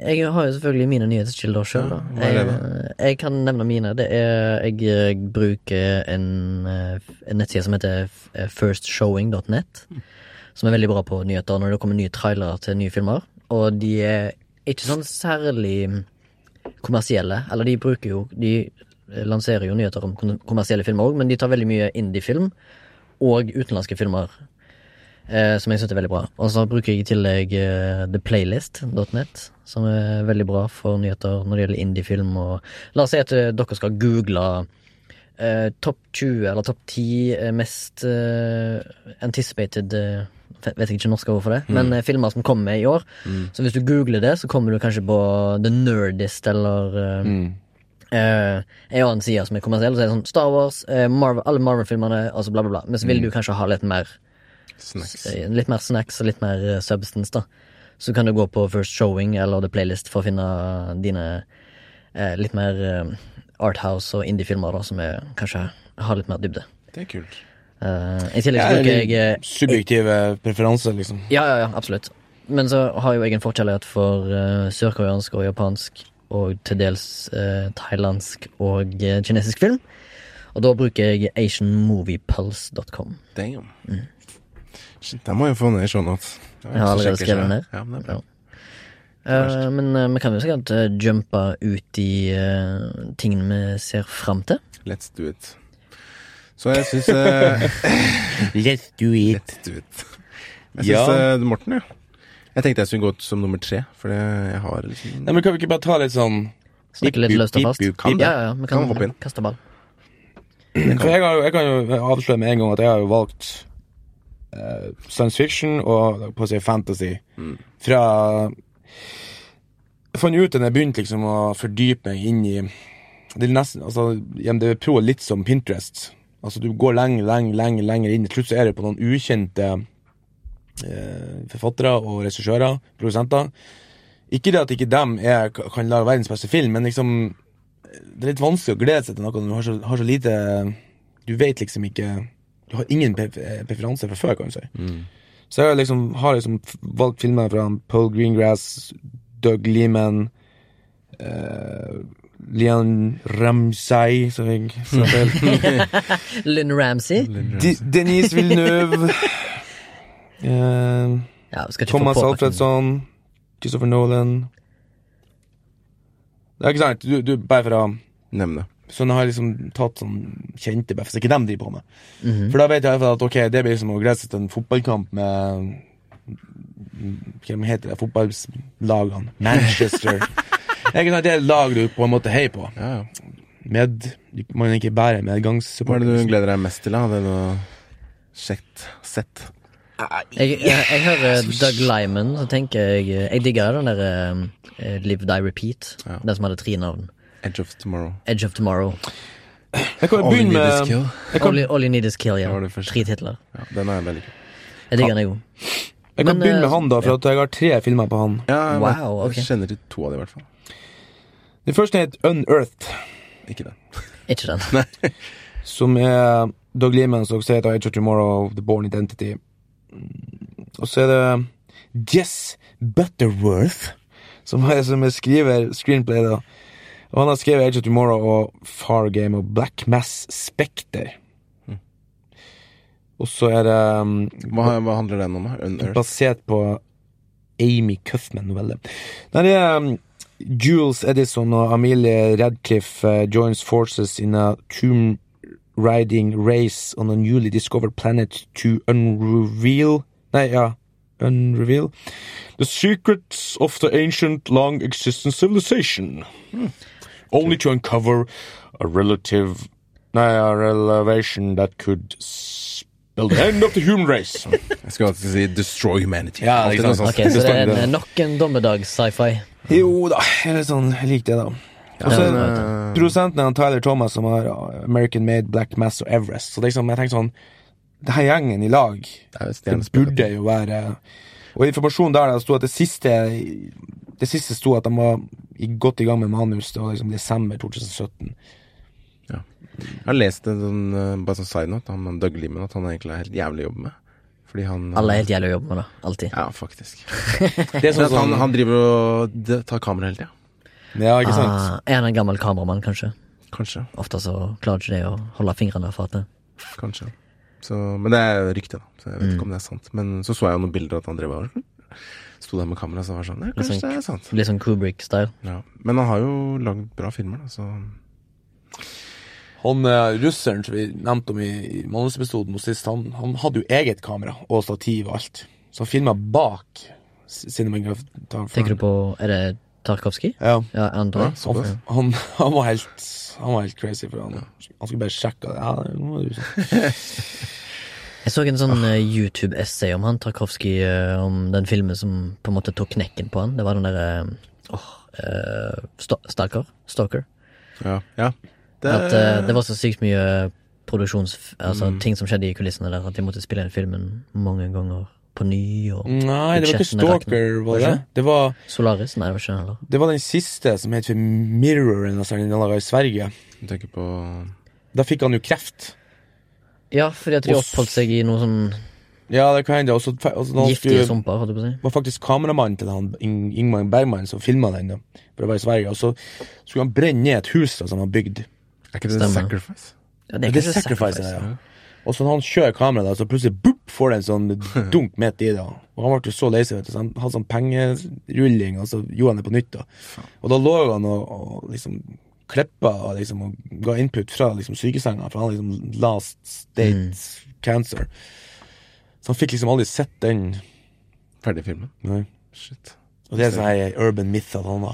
[SPEAKER 1] jeg har jo selvfølgelig mine nyhetskilder sjøl, da.
[SPEAKER 2] hva er det
[SPEAKER 1] Jeg, jeg kan nevne mine. Det er Jeg eh, bruker en, eh, f- en nettside som heter f- eh, firstshowing.net, som er veldig bra på nyheter når det kommer nye trailere til nye filmer. Og de er ikke sånn særlig kommersielle. Eller de bruker jo De lanserer jo nyheter om kom- kommersielle filmer òg, men de tar veldig mye indie-film og utenlandske filmer. Eh, som jeg syns er veldig bra. Og så bruker jeg i tillegg eh, theplaylist.net, som er veldig bra for nyheter når det gjelder indiefilm og La oss si at eh, dere skal google eh, topp 20 eller topp 10 eh, mest eh, anticipated eh, fe- Vet jeg ikke norske ord for det, men eh, filmer som kommer i år. Så hvis du googler det, så kommer du kanskje på The Nerdist eller eh, Eh, en annen side som er kommersiell, så er det sånn Star Wars, eh, Marvel, alle Marvel-filmene, altså bla, bla, bla. Men så vil du kanskje ha litt mer
[SPEAKER 2] Snacks.
[SPEAKER 1] eh, litt mer snacks og litt mer eh, substance, da. Så kan du gå på First Showing eller The Playlist for å finne dine eh, litt mer eh, arthouse og indie-filmer, da, som er, kanskje har litt mer dybde.
[SPEAKER 2] Det er kult.
[SPEAKER 1] Eh, I tillegg så
[SPEAKER 3] Ja,
[SPEAKER 1] bruker jeg eh,
[SPEAKER 3] eller subjektive preferanser, liksom.
[SPEAKER 1] ja, ja, ja, absolutt. Men så har jo jeg en forkjærlighet for eh, sørkoreansk og japansk og til dels eh, thailandsk og eh, kinesisk film. Og da bruker jeg asianmoviepulse.com.
[SPEAKER 2] Damn. Mm. Shit, den må jeg få ned i shownotes. Jeg
[SPEAKER 1] har allerede
[SPEAKER 2] sjekker
[SPEAKER 1] skrevet
[SPEAKER 2] selv.
[SPEAKER 1] ned.
[SPEAKER 2] Ja, men det er bra.
[SPEAKER 1] Ja. Eh, men eh, vi kan jo sikkert eh, jumpe ut i eh, tingene vi ser fram til.
[SPEAKER 2] Let's do it. Så jeg syns eh,
[SPEAKER 3] Let's do it.
[SPEAKER 2] Let's do it. Jeg syns
[SPEAKER 3] Ja.
[SPEAKER 2] eh, Morten, ja. Jeg tenkte jeg skulle gå ut som nummer tre, for det jeg har liksom
[SPEAKER 3] Nei, men Kan vi ikke bare ta litt sånn
[SPEAKER 1] Snakke litt
[SPEAKER 3] Pip,
[SPEAKER 1] løst og
[SPEAKER 3] pip,
[SPEAKER 1] fast.
[SPEAKER 3] pip, kan det.
[SPEAKER 1] Ja, ja, ja, vi kan,
[SPEAKER 2] Kan hoppe inn.
[SPEAKER 1] kaste ball.
[SPEAKER 3] For jeg, har, jo- jeg kan jo avsløre med en gang at jeg har jo valgt eh, science fiction og på å si fantasy fra Jeg fant ut da jeg begynte liksom å fordype meg inn i det er nesten, altså, MDV Pro er litt som Pinterest. Altså Du går lenger, lenger, lenger, lenger inn. Til slutt så er du på noen ukjente eh, forfattere og regissører, produsenter. Ikke det at ikke dem er, kan lage verdens beste film, men liksom det er litt vanskelig å glede seg til noe når du har så, har så lite Du vet liksom ikke Du har ingen pref- eh, preferanse fra før, kan du si. Så jeg har liksom, har liksom f- valgt filmer fra Paul Greengrass, Doug Lehman eh, Lian Ramsay, som jeg sa feil.
[SPEAKER 1] Lynn Ramsey.
[SPEAKER 3] De, Denise Villeneuve. eh,
[SPEAKER 1] Ja, vi skal ikke
[SPEAKER 3] Thomas
[SPEAKER 1] få påpakning.
[SPEAKER 3] Alfredsson, Christopher Nolan Det er ikke sant, du, du bare for å
[SPEAKER 2] Nevne.
[SPEAKER 3] Sånn har jeg liksom tatt sånn kjente bøff, så ikke dem driver på med. For da vet jeg i hvert fall at ok, det blir som å glede seg til en fotballkamp med Hva de heter det, fotballagene? Manchester. Det er ikke sant, det er et lag du på en måte heier på.
[SPEAKER 2] Ja, ja.
[SPEAKER 3] Med, man er ikke bare
[SPEAKER 2] Hva er
[SPEAKER 3] medgangssupporter.
[SPEAKER 2] det du gleder deg mest til? da? Det er noe Sjett. Sett.
[SPEAKER 1] Jeg, jeg, jeg hører Doug Lyman, så tenker jeg Jeg digger den der eh, Live Die Repeat. Den som hadde tre navn.
[SPEAKER 2] Edge of Tomorrow.
[SPEAKER 1] Edge of Tomorrow.
[SPEAKER 3] Jeg kan jo
[SPEAKER 2] All you
[SPEAKER 3] begynne
[SPEAKER 2] need is
[SPEAKER 3] med
[SPEAKER 2] kill.
[SPEAKER 1] All, you- all You Need Is Kill, ja.
[SPEAKER 2] Det var det første.
[SPEAKER 1] Tre titler.
[SPEAKER 2] Ja, den er veldig kul.
[SPEAKER 1] Jeg digger den, jeg òg.
[SPEAKER 3] Jeg kan
[SPEAKER 1] Men,
[SPEAKER 3] begynne med
[SPEAKER 1] eh,
[SPEAKER 3] han, da, for at jeg har tre filmer på han.
[SPEAKER 2] Ja, jeg vet-
[SPEAKER 1] Wow, ok.
[SPEAKER 2] Jeg kjenner til to av dem, i hvert fall.
[SPEAKER 3] Det Den første het Unearthed,
[SPEAKER 2] Ikke det.
[SPEAKER 1] Ikke den.
[SPEAKER 3] som er Doug Liemans og State of Age of Tomorrow, The Born Identity. Mm, Og så er det Jess Butterworth, som er, som er skriver screenplay, da. Og han har skrevet Age of Tomorrow og Far Game og Black Mass Specter. Og så er det mm,
[SPEAKER 2] Hva, hva handler den om? da? Unearthed?
[SPEAKER 3] Basert på Amy Cuthman-novelle. Der er um, Jules Edison og Amelie Radcliffe uh, joins forces in a tomb riding race on a newly discovered planet to unreveal Nei, ja. Unreveal The secrets of the ancient long existent civilization. Only to uncover a relative Nei, a relation that could spell the end of the human race.
[SPEAKER 2] Jeg skulle alltid si 'destroy humanity'.
[SPEAKER 3] Ja,
[SPEAKER 2] Alltid
[SPEAKER 3] ikke
[SPEAKER 2] noe
[SPEAKER 3] sant.
[SPEAKER 2] sånt.
[SPEAKER 1] Ok, Så det er en, eh, nok en dommedags-sci-fi.
[SPEAKER 3] Jo da, jeg er litt sånn, jeg liker det, da. Og så er det
[SPEAKER 2] Men, eh,
[SPEAKER 3] produsenten er Tyler Thomas, som har uh, American Made, Black Mass og Everest. Så det er liksom, jeg tenker sånn Det her gjengen i lag,
[SPEAKER 2] det er jo
[SPEAKER 3] det
[SPEAKER 2] stjernespill.
[SPEAKER 3] burde jo være Og informasjonen der, det sto at det siste Det siste sto at de var i- godt i gang med manus. Det var liksom desember 2017.
[SPEAKER 2] Jeg har lest en sånn, eh, bare sånn side note, han Doug Liman, at han egentlig er helt jævlig å jobbe med. Fordi han eh,
[SPEAKER 1] Alle er helt jævlig å jobbe med, da. Alltid.
[SPEAKER 2] Ja, faktisk.
[SPEAKER 3] Det
[SPEAKER 2] Men
[SPEAKER 3] er sånn
[SPEAKER 2] at han,
[SPEAKER 3] som
[SPEAKER 2] han driver og d- tar kamera hele tida.
[SPEAKER 3] Ja, ikke sant?
[SPEAKER 1] Ah, er han en gammel kameramann, kanskje?
[SPEAKER 2] Kanskje.
[SPEAKER 1] Ofte så klarer ikke de å holde fingrene fra det.
[SPEAKER 2] Kanskje. Så, men det er jo rykte, da. Så jeg vet ikke om det er sant. Men så så jeg jo noen bilder at han drev og sto der med kamera, så jeg var sånn ja, Kanskje
[SPEAKER 1] Liksom-
[SPEAKER 2] det er sant.
[SPEAKER 1] Litt sånn Kubrick-style.
[SPEAKER 2] Ja. Men han har jo lagd bra filmer, da, så
[SPEAKER 3] Han eh, russeren som vi nevnte om i, i manusepisoden nå sist, han, han hadde jo eget kamera og stativ og alt. Så han filma bak cinematograferen.
[SPEAKER 1] Tenker du på Er det Tarkovskij?
[SPEAKER 3] Ja.
[SPEAKER 1] Ja, andre.
[SPEAKER 2] så- Såpass.
[SPEAKER 3] Han, han, var helt, han var helt crazy, for han, han skulle bare sjekke det. Ja, nå er du sånn.
[SPEAKER 1] Jeg så en sånn eh, YouTube-essay om han Tarkovskij, eh, om den filmen som på en måte tok knekken på han. Det var den derre Åh eh, Sta- Stalker? Stalker.
[SPEAKER 2] Ja. ja. Det,
[SPEAKER 1] At eh, det var så sykt mye produksjons... Altså
[SPEAKER 3] Mm.
[SPEAKER 1] ting som skjedde i kulissene der, at de måtte spille inn filmen mange ganger på ny, og
[SPEAKER 3] Nei, det var ikke
[SPEAKER 1] Budsjettene rakner.
[SPEAKER 3] Stalker, var det? Det var,
[SPEAKER 1] Solaris? Nei, det var ikke den heller.
[SPEAKER 3] det var den siste som het for Mirror, eller noe sånt, den laget i Sverige.
[SPEAKER 2] Du tenker på
[SPEAKER 3] Da fikk han jo kreft.
[SPEAKER 1] Ja, fordi at de
[SPEAKER 3] Og s-
[SPEAKER 1] oppholdt seg i noen sånn
[SPEAKER 3] Ja, det kan hende. Og så fe- og så da han
[SPEAKER 1] giftige
[SPEAKER 3] skulle-
[SPEAKER 1] sumper, holdt jeg på å si.
[SPEAKER 3] var faktisk kameramannen til han Ing- Ingmar Bergman som filma den, da, for det var i Sverige. Og så skulle han brenne ned et hus da, som han hadde bygd.
[SPEAKER 2] Er ikke det
[SPEAKER 1] Stemmer.
[SPEAKER 2] Sacrifice?
[SPEAKER 1] Ja,
[SPEAKER 3] Det er sacrifice, det, ja. Og så når han kjører kameraet, da, så plutselig boop, får det en sånn dunk midt i det. Og han ble jo så lei seg, vet du, så han hadde sånn pengerulling, og så gjorde han det på nytt. da. Og da lå han og, og liksom klippa og liksom og ga input fra liksom sykesenga, for han liksom last state cancer. Så han fikk liksom aldri sett den.
[SPEAKER 2] Ferdig filmen?
[SPEAKER 3] Nei.
[SPEAKER 2] Shit.
[SPEAKER 3] Og det er sånn her urban myth at han,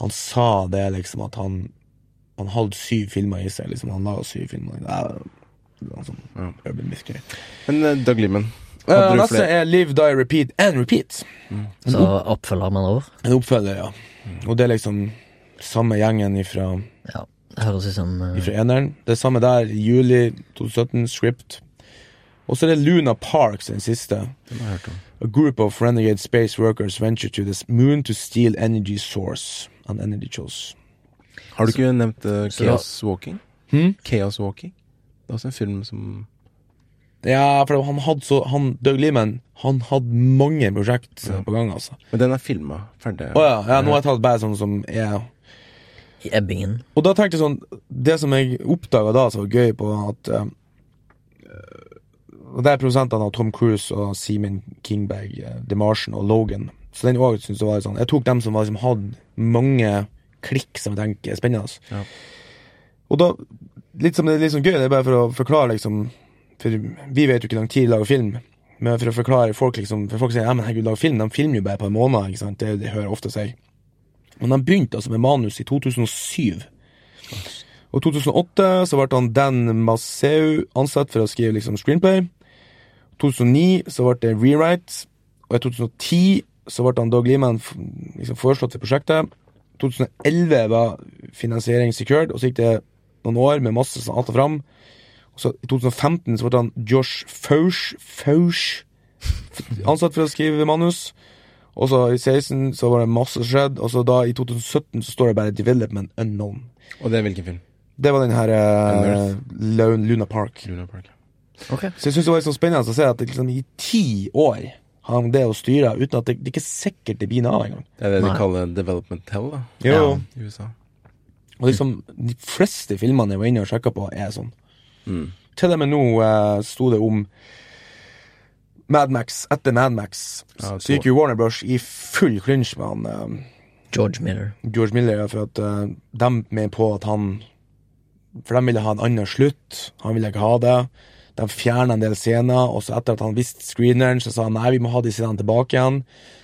[SPEAKER 3] han sa det liksom at han han hadde syv filmer i seg. liksom Han la syv filmer. Det er, det er en sånn
[SPEAKER 2] Ja.
[SPEAKER 3] urban myth-greie.
[SPEAKER 2] Men eh, Doug Liman
[SPEAKER 3] Eh,
[SPEAKER 2] hadde du
[SPEAKER 3] Neste
[SPEAKER 2] flere?
[SPEAKER 3] er Live, Die, Repeat and Repeat.
[SPEAKER 2] Mm.
[SPEAKER 1] Så oppfølger, med andre ord.
[SPEAKER 3] En oppfølger, ja. Og det er liksom samme gjengen ifra,
[SPEAKER 1] Ja, det høres ut som eh,
[SPEAKER 3] ifra eneren. Det er samme der, juli 2017, script. Og så er det Luna Parks, den siste.
[SPEAKER 2] Den har jeg hørt om.
[SPEAKER 3] A group of renegade space workers venture to the moon to steal energy source and energy source.
[SPEAKER 2] Har du ikke nevnt eh,
[SPEAKER 1] så-
[SPEAKER 2] Chaos Walking?
[SPEAKER 3] Hmm?
[SPEAKER 2] Chaos Walking? Det er også en film som
[SPEAKER 3] Ja, for han hadde så han, Doug Liman, han hadde mange prosjekt eh, på gang, altså.
[SPEAKER 2] Men den er filma ferdig.
[SPEAKER 3] Å ja, ja, nå har jeg tatt bare sånn som er
[SPEAKER 1] i ebbingen.
[SPEAKER 3] Og da tenkte jeg sånn Det som jeg oppdaga da som var gøy på at eh, Og Det er produsentene av Tom Cruise og Seaman Kingberg, eh, DeMartian og Logan. Så den også synes jeg var litt sånn Jeg tok dem som var, liksom, hadde mange klikk som jeg tenker er spennende. altså.
[SPEAKER 2] Ja.
[SPEAKER 3] Og da Litt som det er litt sånn gøy, det er bare for å forklare, liksom For vi vet jo ikke hvor lang tid de lager film. Men for å forklare folk, liksom For folk sier ja, men herregud, lag film. De filmer jo bare på en måned. ikke sant? Det, det hører jeg ofte si. Men de begynte altså med manus i 2007. Og i 2008 så ble han Dan Maseu ansatt for å skrive liksom screenplay. I 2009 så ble det rewrite. Og i 2010 så ble han Doug Liman f- liksom foreslått for prosjektet. 2011 var finansiering secured, og så gikk det noen år med masse som alt og fram. Og så i 2015 så ble han Josh Fausch Fausch f- ansatt for å skrive manus. Og så i 16 så var det masse skjedd, og så da i 2017 så står det bare 'Development Unknown'.
[SPEAKER 2] Og det er hvilken film?
[SPEAKER 3] Det var den her eh, Lun- Luna Park.
[SPEAKER 2] Luna Park.
[SPEAKER 1] Ok.
[SPEAKER 3] Så jeg synes det var litt sånn spennende å se at det liksom, i ti år har han det å styre uten at det, det er ikke sikkert det blir noe av engang.
[SPEAKER 2] Det er det de
[SPEAKER 1] Nei.
[SPEAKER 2] kaller development hell, da.
[SPEAKER 3] Jo.
[SPEAKER 2] I USA.
[SPEAKER 3] Og liksom, de fleste filmene jeg var inne og sjekka på, er sånn. Til og med nå eh, sto det om Madmax etter Madmax.
[SPEAKER 2] Ja,
[SPEAKER 3] så gikk jo Warner Bros. i full clinch med han eh,
[SPEAKER 1] George Miller.
[SPEAKER 3] George Miller, ja, for at eh, de med på at han For de ville ha en annen slutt. Han ville ikke ha det. De fjerna en del scener, og så etter at han visste screeneren, så sa han nei, vi må ha de scenene tilbake igjen.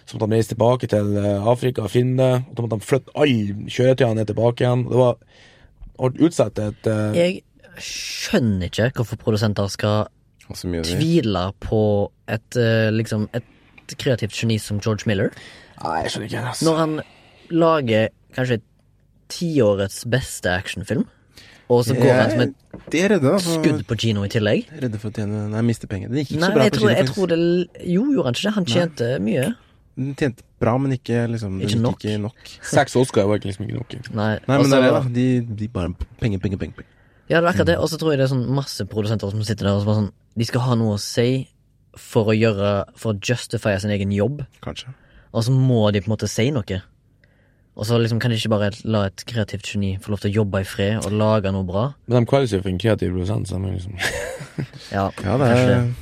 [SPEAKER 3] Så måtte han reise tilbake til eh, Afrika og finne det. Og da måtte han flytte alle kjøretøyene ned tilbake igjen. Det var og utsatt et eh,
[SPEAKER 1] Jeg skjønner ikke hvorfor produsenter skal
[SPEAKER 2] Og så mye de-
[SPEAKER 1] tvile på et, eh, liksom, et kreativt geni som George Miller.
[SPEAKER 3] Nei, jeg skjønner ikke. Altså.
[SPEAKER 1] Når han lager kanskje tiårets beste actionfilm, og så går han som et
[SPEAKER 2] De er redde, da. for-
[SPEAKER 1] skudd på Gino i tillegg
[SPEAKER 2] Redde for å tjene Nei, miste penger. Det gikk Altså- ikke
[SPEAKER 1] Nei,
[SPEAKER 2] så bra
[SPEAKER 1] jeg
[SPEAKER 2] på
[SPEAKER 1] tror,
[SPEAKER 2] kino,
[SPEAKER 1] jeg
[SPEAKER 2] faktisk.
[SPEAKER 1] tror det Jo, gjorde han ikke det? Han tjente mye.
[SPEAKER 2] Den tjente bra, men ikke liksom
[SPEAKER 1] Ikke
[SPEAKER 2] den gikk
[SPEAKER 1] nok.
[SPEAKER 2] Ikke nok.
[SPEAKER 3] Seks Oscar var ikke liksom ikke nok.
[SPEAKER 1] Nei,
[SPEAKER 2] Nei, men
[SPEAKER 1] altså-
[SPEAKER 2] det er det, da. De, de bare Penger, penger, penger. penger.
[SPEAKER 1] Ja, det er akkurat det. Og så tror jeg det er sånn masse produsenter som sitter der og som er sånn De skal ha noe å si for å gjøre For å justifiere sin egen jobb,
[SPEAKER 2] Kanskje.
[SPEAKER 1] og så må de på en måte si noe. Og så liksom kan de ikke bare la et kreativt geni få lov til å jobbe i fred og lage noe bra.
[SPEAKER 3] Men de kalles jo for en kreativ produsent. Så de er liksom.
[SPEAKER 1] Ja,
[SPEAKER 2] Ja, det er
[SPEAKER 1] kanskje.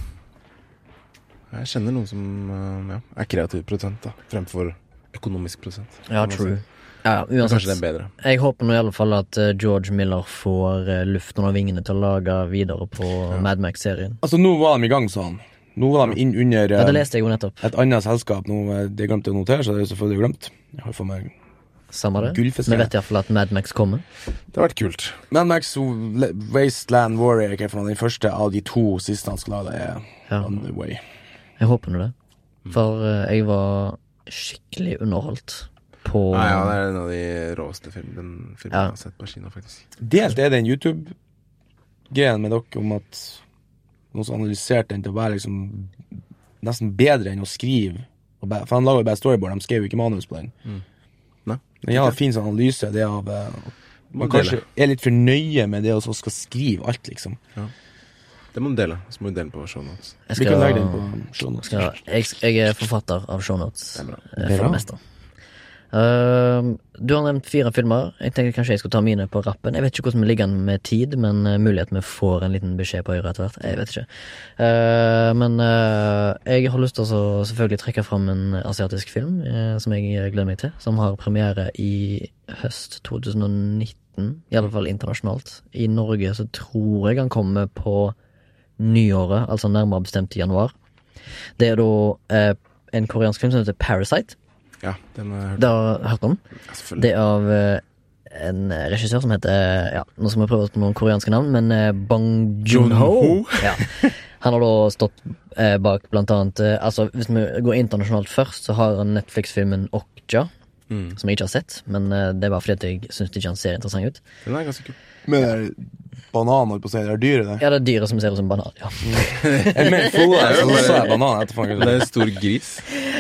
[SPEAKER 2] Jeg kjenner noen som eh, ja, er kreativ produsent, da. Fremfor økonomisk produsent.
[SPEAKER 1] Ja,
[SPEAKER 2] Kan man
[SPEAKER 1] true.
[SPEAKER 2] si.
[SPEAKER 1] Ja, ja,
[SPEAKER 2] Men Kanskje det er
[SPEAKER 1] uansett.
[SPEAKER 2] bedre.
[SPEAKER 1] Jeg håper nå i alle fall at eh, George Miller får eh, luft under vingene til å lage videre på Mad Max-serien.
[SPEAKER 3] Altså, nå var de i gang, sa han. Nå var de inn under
[SPEAKER 1] Ja,
[SPEAKER 3] eh,
[SPEAKER 1] det leste jeg jo nettopp.
[SPEAKER 3] et annet selskap. Nå, eh, det glemte jeg å notere, så det er jo selvfølgelig glemt. Jeg har for meg
[SPEAKER 1] Samme det. Vi
[SPEAKER 3] Gullfisk, ja.
[SPEAKER 1] vet iallfall at Mad Max kommer.
[SPEAKER 2] Det har vært kult.
[SPEAKER 3] Men Max Le- Wasteland Warrior, hva er det for noe? den første av de to siste han skal lage, er
[SPEAKER 1] Ja.
[SPEAKER 3] On The Way.
[SPEAKER 1] Jeg håper nå det. For eh, jeg var skikkelig underholdt på
[SPEAKER 2] Nei, ja, det er en av de råeste filmene filmen
[SPEAKER 1] Ja.
[SPEAKER 2] jeg har sett på kino, faktisk.
[SPEAKER 3] Delt er den YouTube-greien med dere om at noen som analyserte den til å være liksom nesten bedre enn å skrive. Og bare- For han lager jo bare storyboard, de skrev jo ikke manus på den.
[SPEAKER 2] Nei.
[SPEAKER 3] Men ja, fin sånn analyse, det av eh, at Man kanskje er litt for nøye med det å så skal skrive alt, liksom.
[SPEAKER 2] Det må du dele. Så må du dele på show notes.
[SPEAKER 1] Jeg
[SPEAKER 3] Vi
[SPEAKER 1] skal,
[SPEAKER 3] kan legge den på show notes.
[SPEAKER 1] skal, jeg, jeg er forfatter av shownotes, eh, for
[SPEAKER 3] Bra.
[SPEAKER 1] det meste. Ehm, du har nevnt fire filmer. Jeg tenker kanskje jeg skal ta mine på rappen. Jeg vet ikke hvordan vi ligger an med tid, men eh, mulig at vi får en liten beskjed på øret etter hvert. Jeg vet ikke. Eh, men eh, jeg har lyst til å så selvfølgelig trekke fram en asiatisk film eh, som jeg gleder meg til, som har premiere i høst 2019. I alle fall internasjonalt. I Norge så tror jeg han kommer på nyåret, altså nærmere bestemt i januar. Det er da eh, en koreansk film som heter Parasite.
[SPEAKER 2] Ja, den har jeg hørt.
[SPEAKER 1] Det har jeg hørt om.
[SPEAKER 2] Ja, selvfølgelig.
[SPEAKER 1] Det er av eh, en regissør som heter ja, Nå skal vi prøve oss på noen koreanske navn, men eh, Bang Joon-ho. Ja. Han har da stått eh, bak blant annet eh, Altså, hvis vi går internasjonalt først, så har han Netflix-filmen Okja. Som jeg ikke har sett, men eh, det er bare fordi at jeg syns ikke han ser interessant ut.
[SPEAKER 2] Den er ganske kul.
[SPEAKER 3] Men det er banan, holdt på å si. Det er dyret, det.
[SPEAKER 1] Ja, det er dyret som ser ut som banan, ja.
[SPEAKER 3] Jeg mener Frode, så sa jeg banan etterpå.
[SPEAKER 2] Det er en stor gris.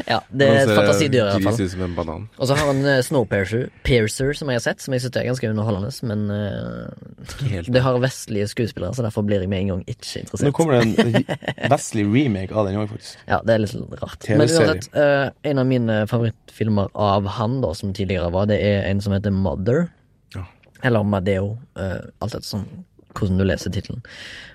[SPEAKER 1] ja det er et
[SPEAKER 2] eh,
[SPEAKER 1] fantasidyr, i hvert fall.
[SPEAKER 2] Gris ut som en banan.
[SPEAKER 1] Og så har han eh, Snowpiercer, Piercer, som jeg har sett, som jeg synes er ganske underholdende, men eh,
[SPEAKER 2] helt.
[SPEAKER 1] det har vestlige skuespillere, så derfor blir jeg med en gang ikke
[SPEAKER 3] Nå
[SPEAKER 1] interessert.
[SPEAKER 3] kommer det en vestlig remake av den òg, faktisk.
[SPEAKER 1] Ja, det er litt rart. Men
[SPEAKER 3] TV-serie.
[SPEAKER 1] uansett, eh, en av mine favorittfilmer av han, da, som tidligere var, det er en som heter Mother.
[SPEAKER 2] Ja.
[SPEAKER 1] Eller Madeo, eh, alt etter sånn hvordan du leser tittelen.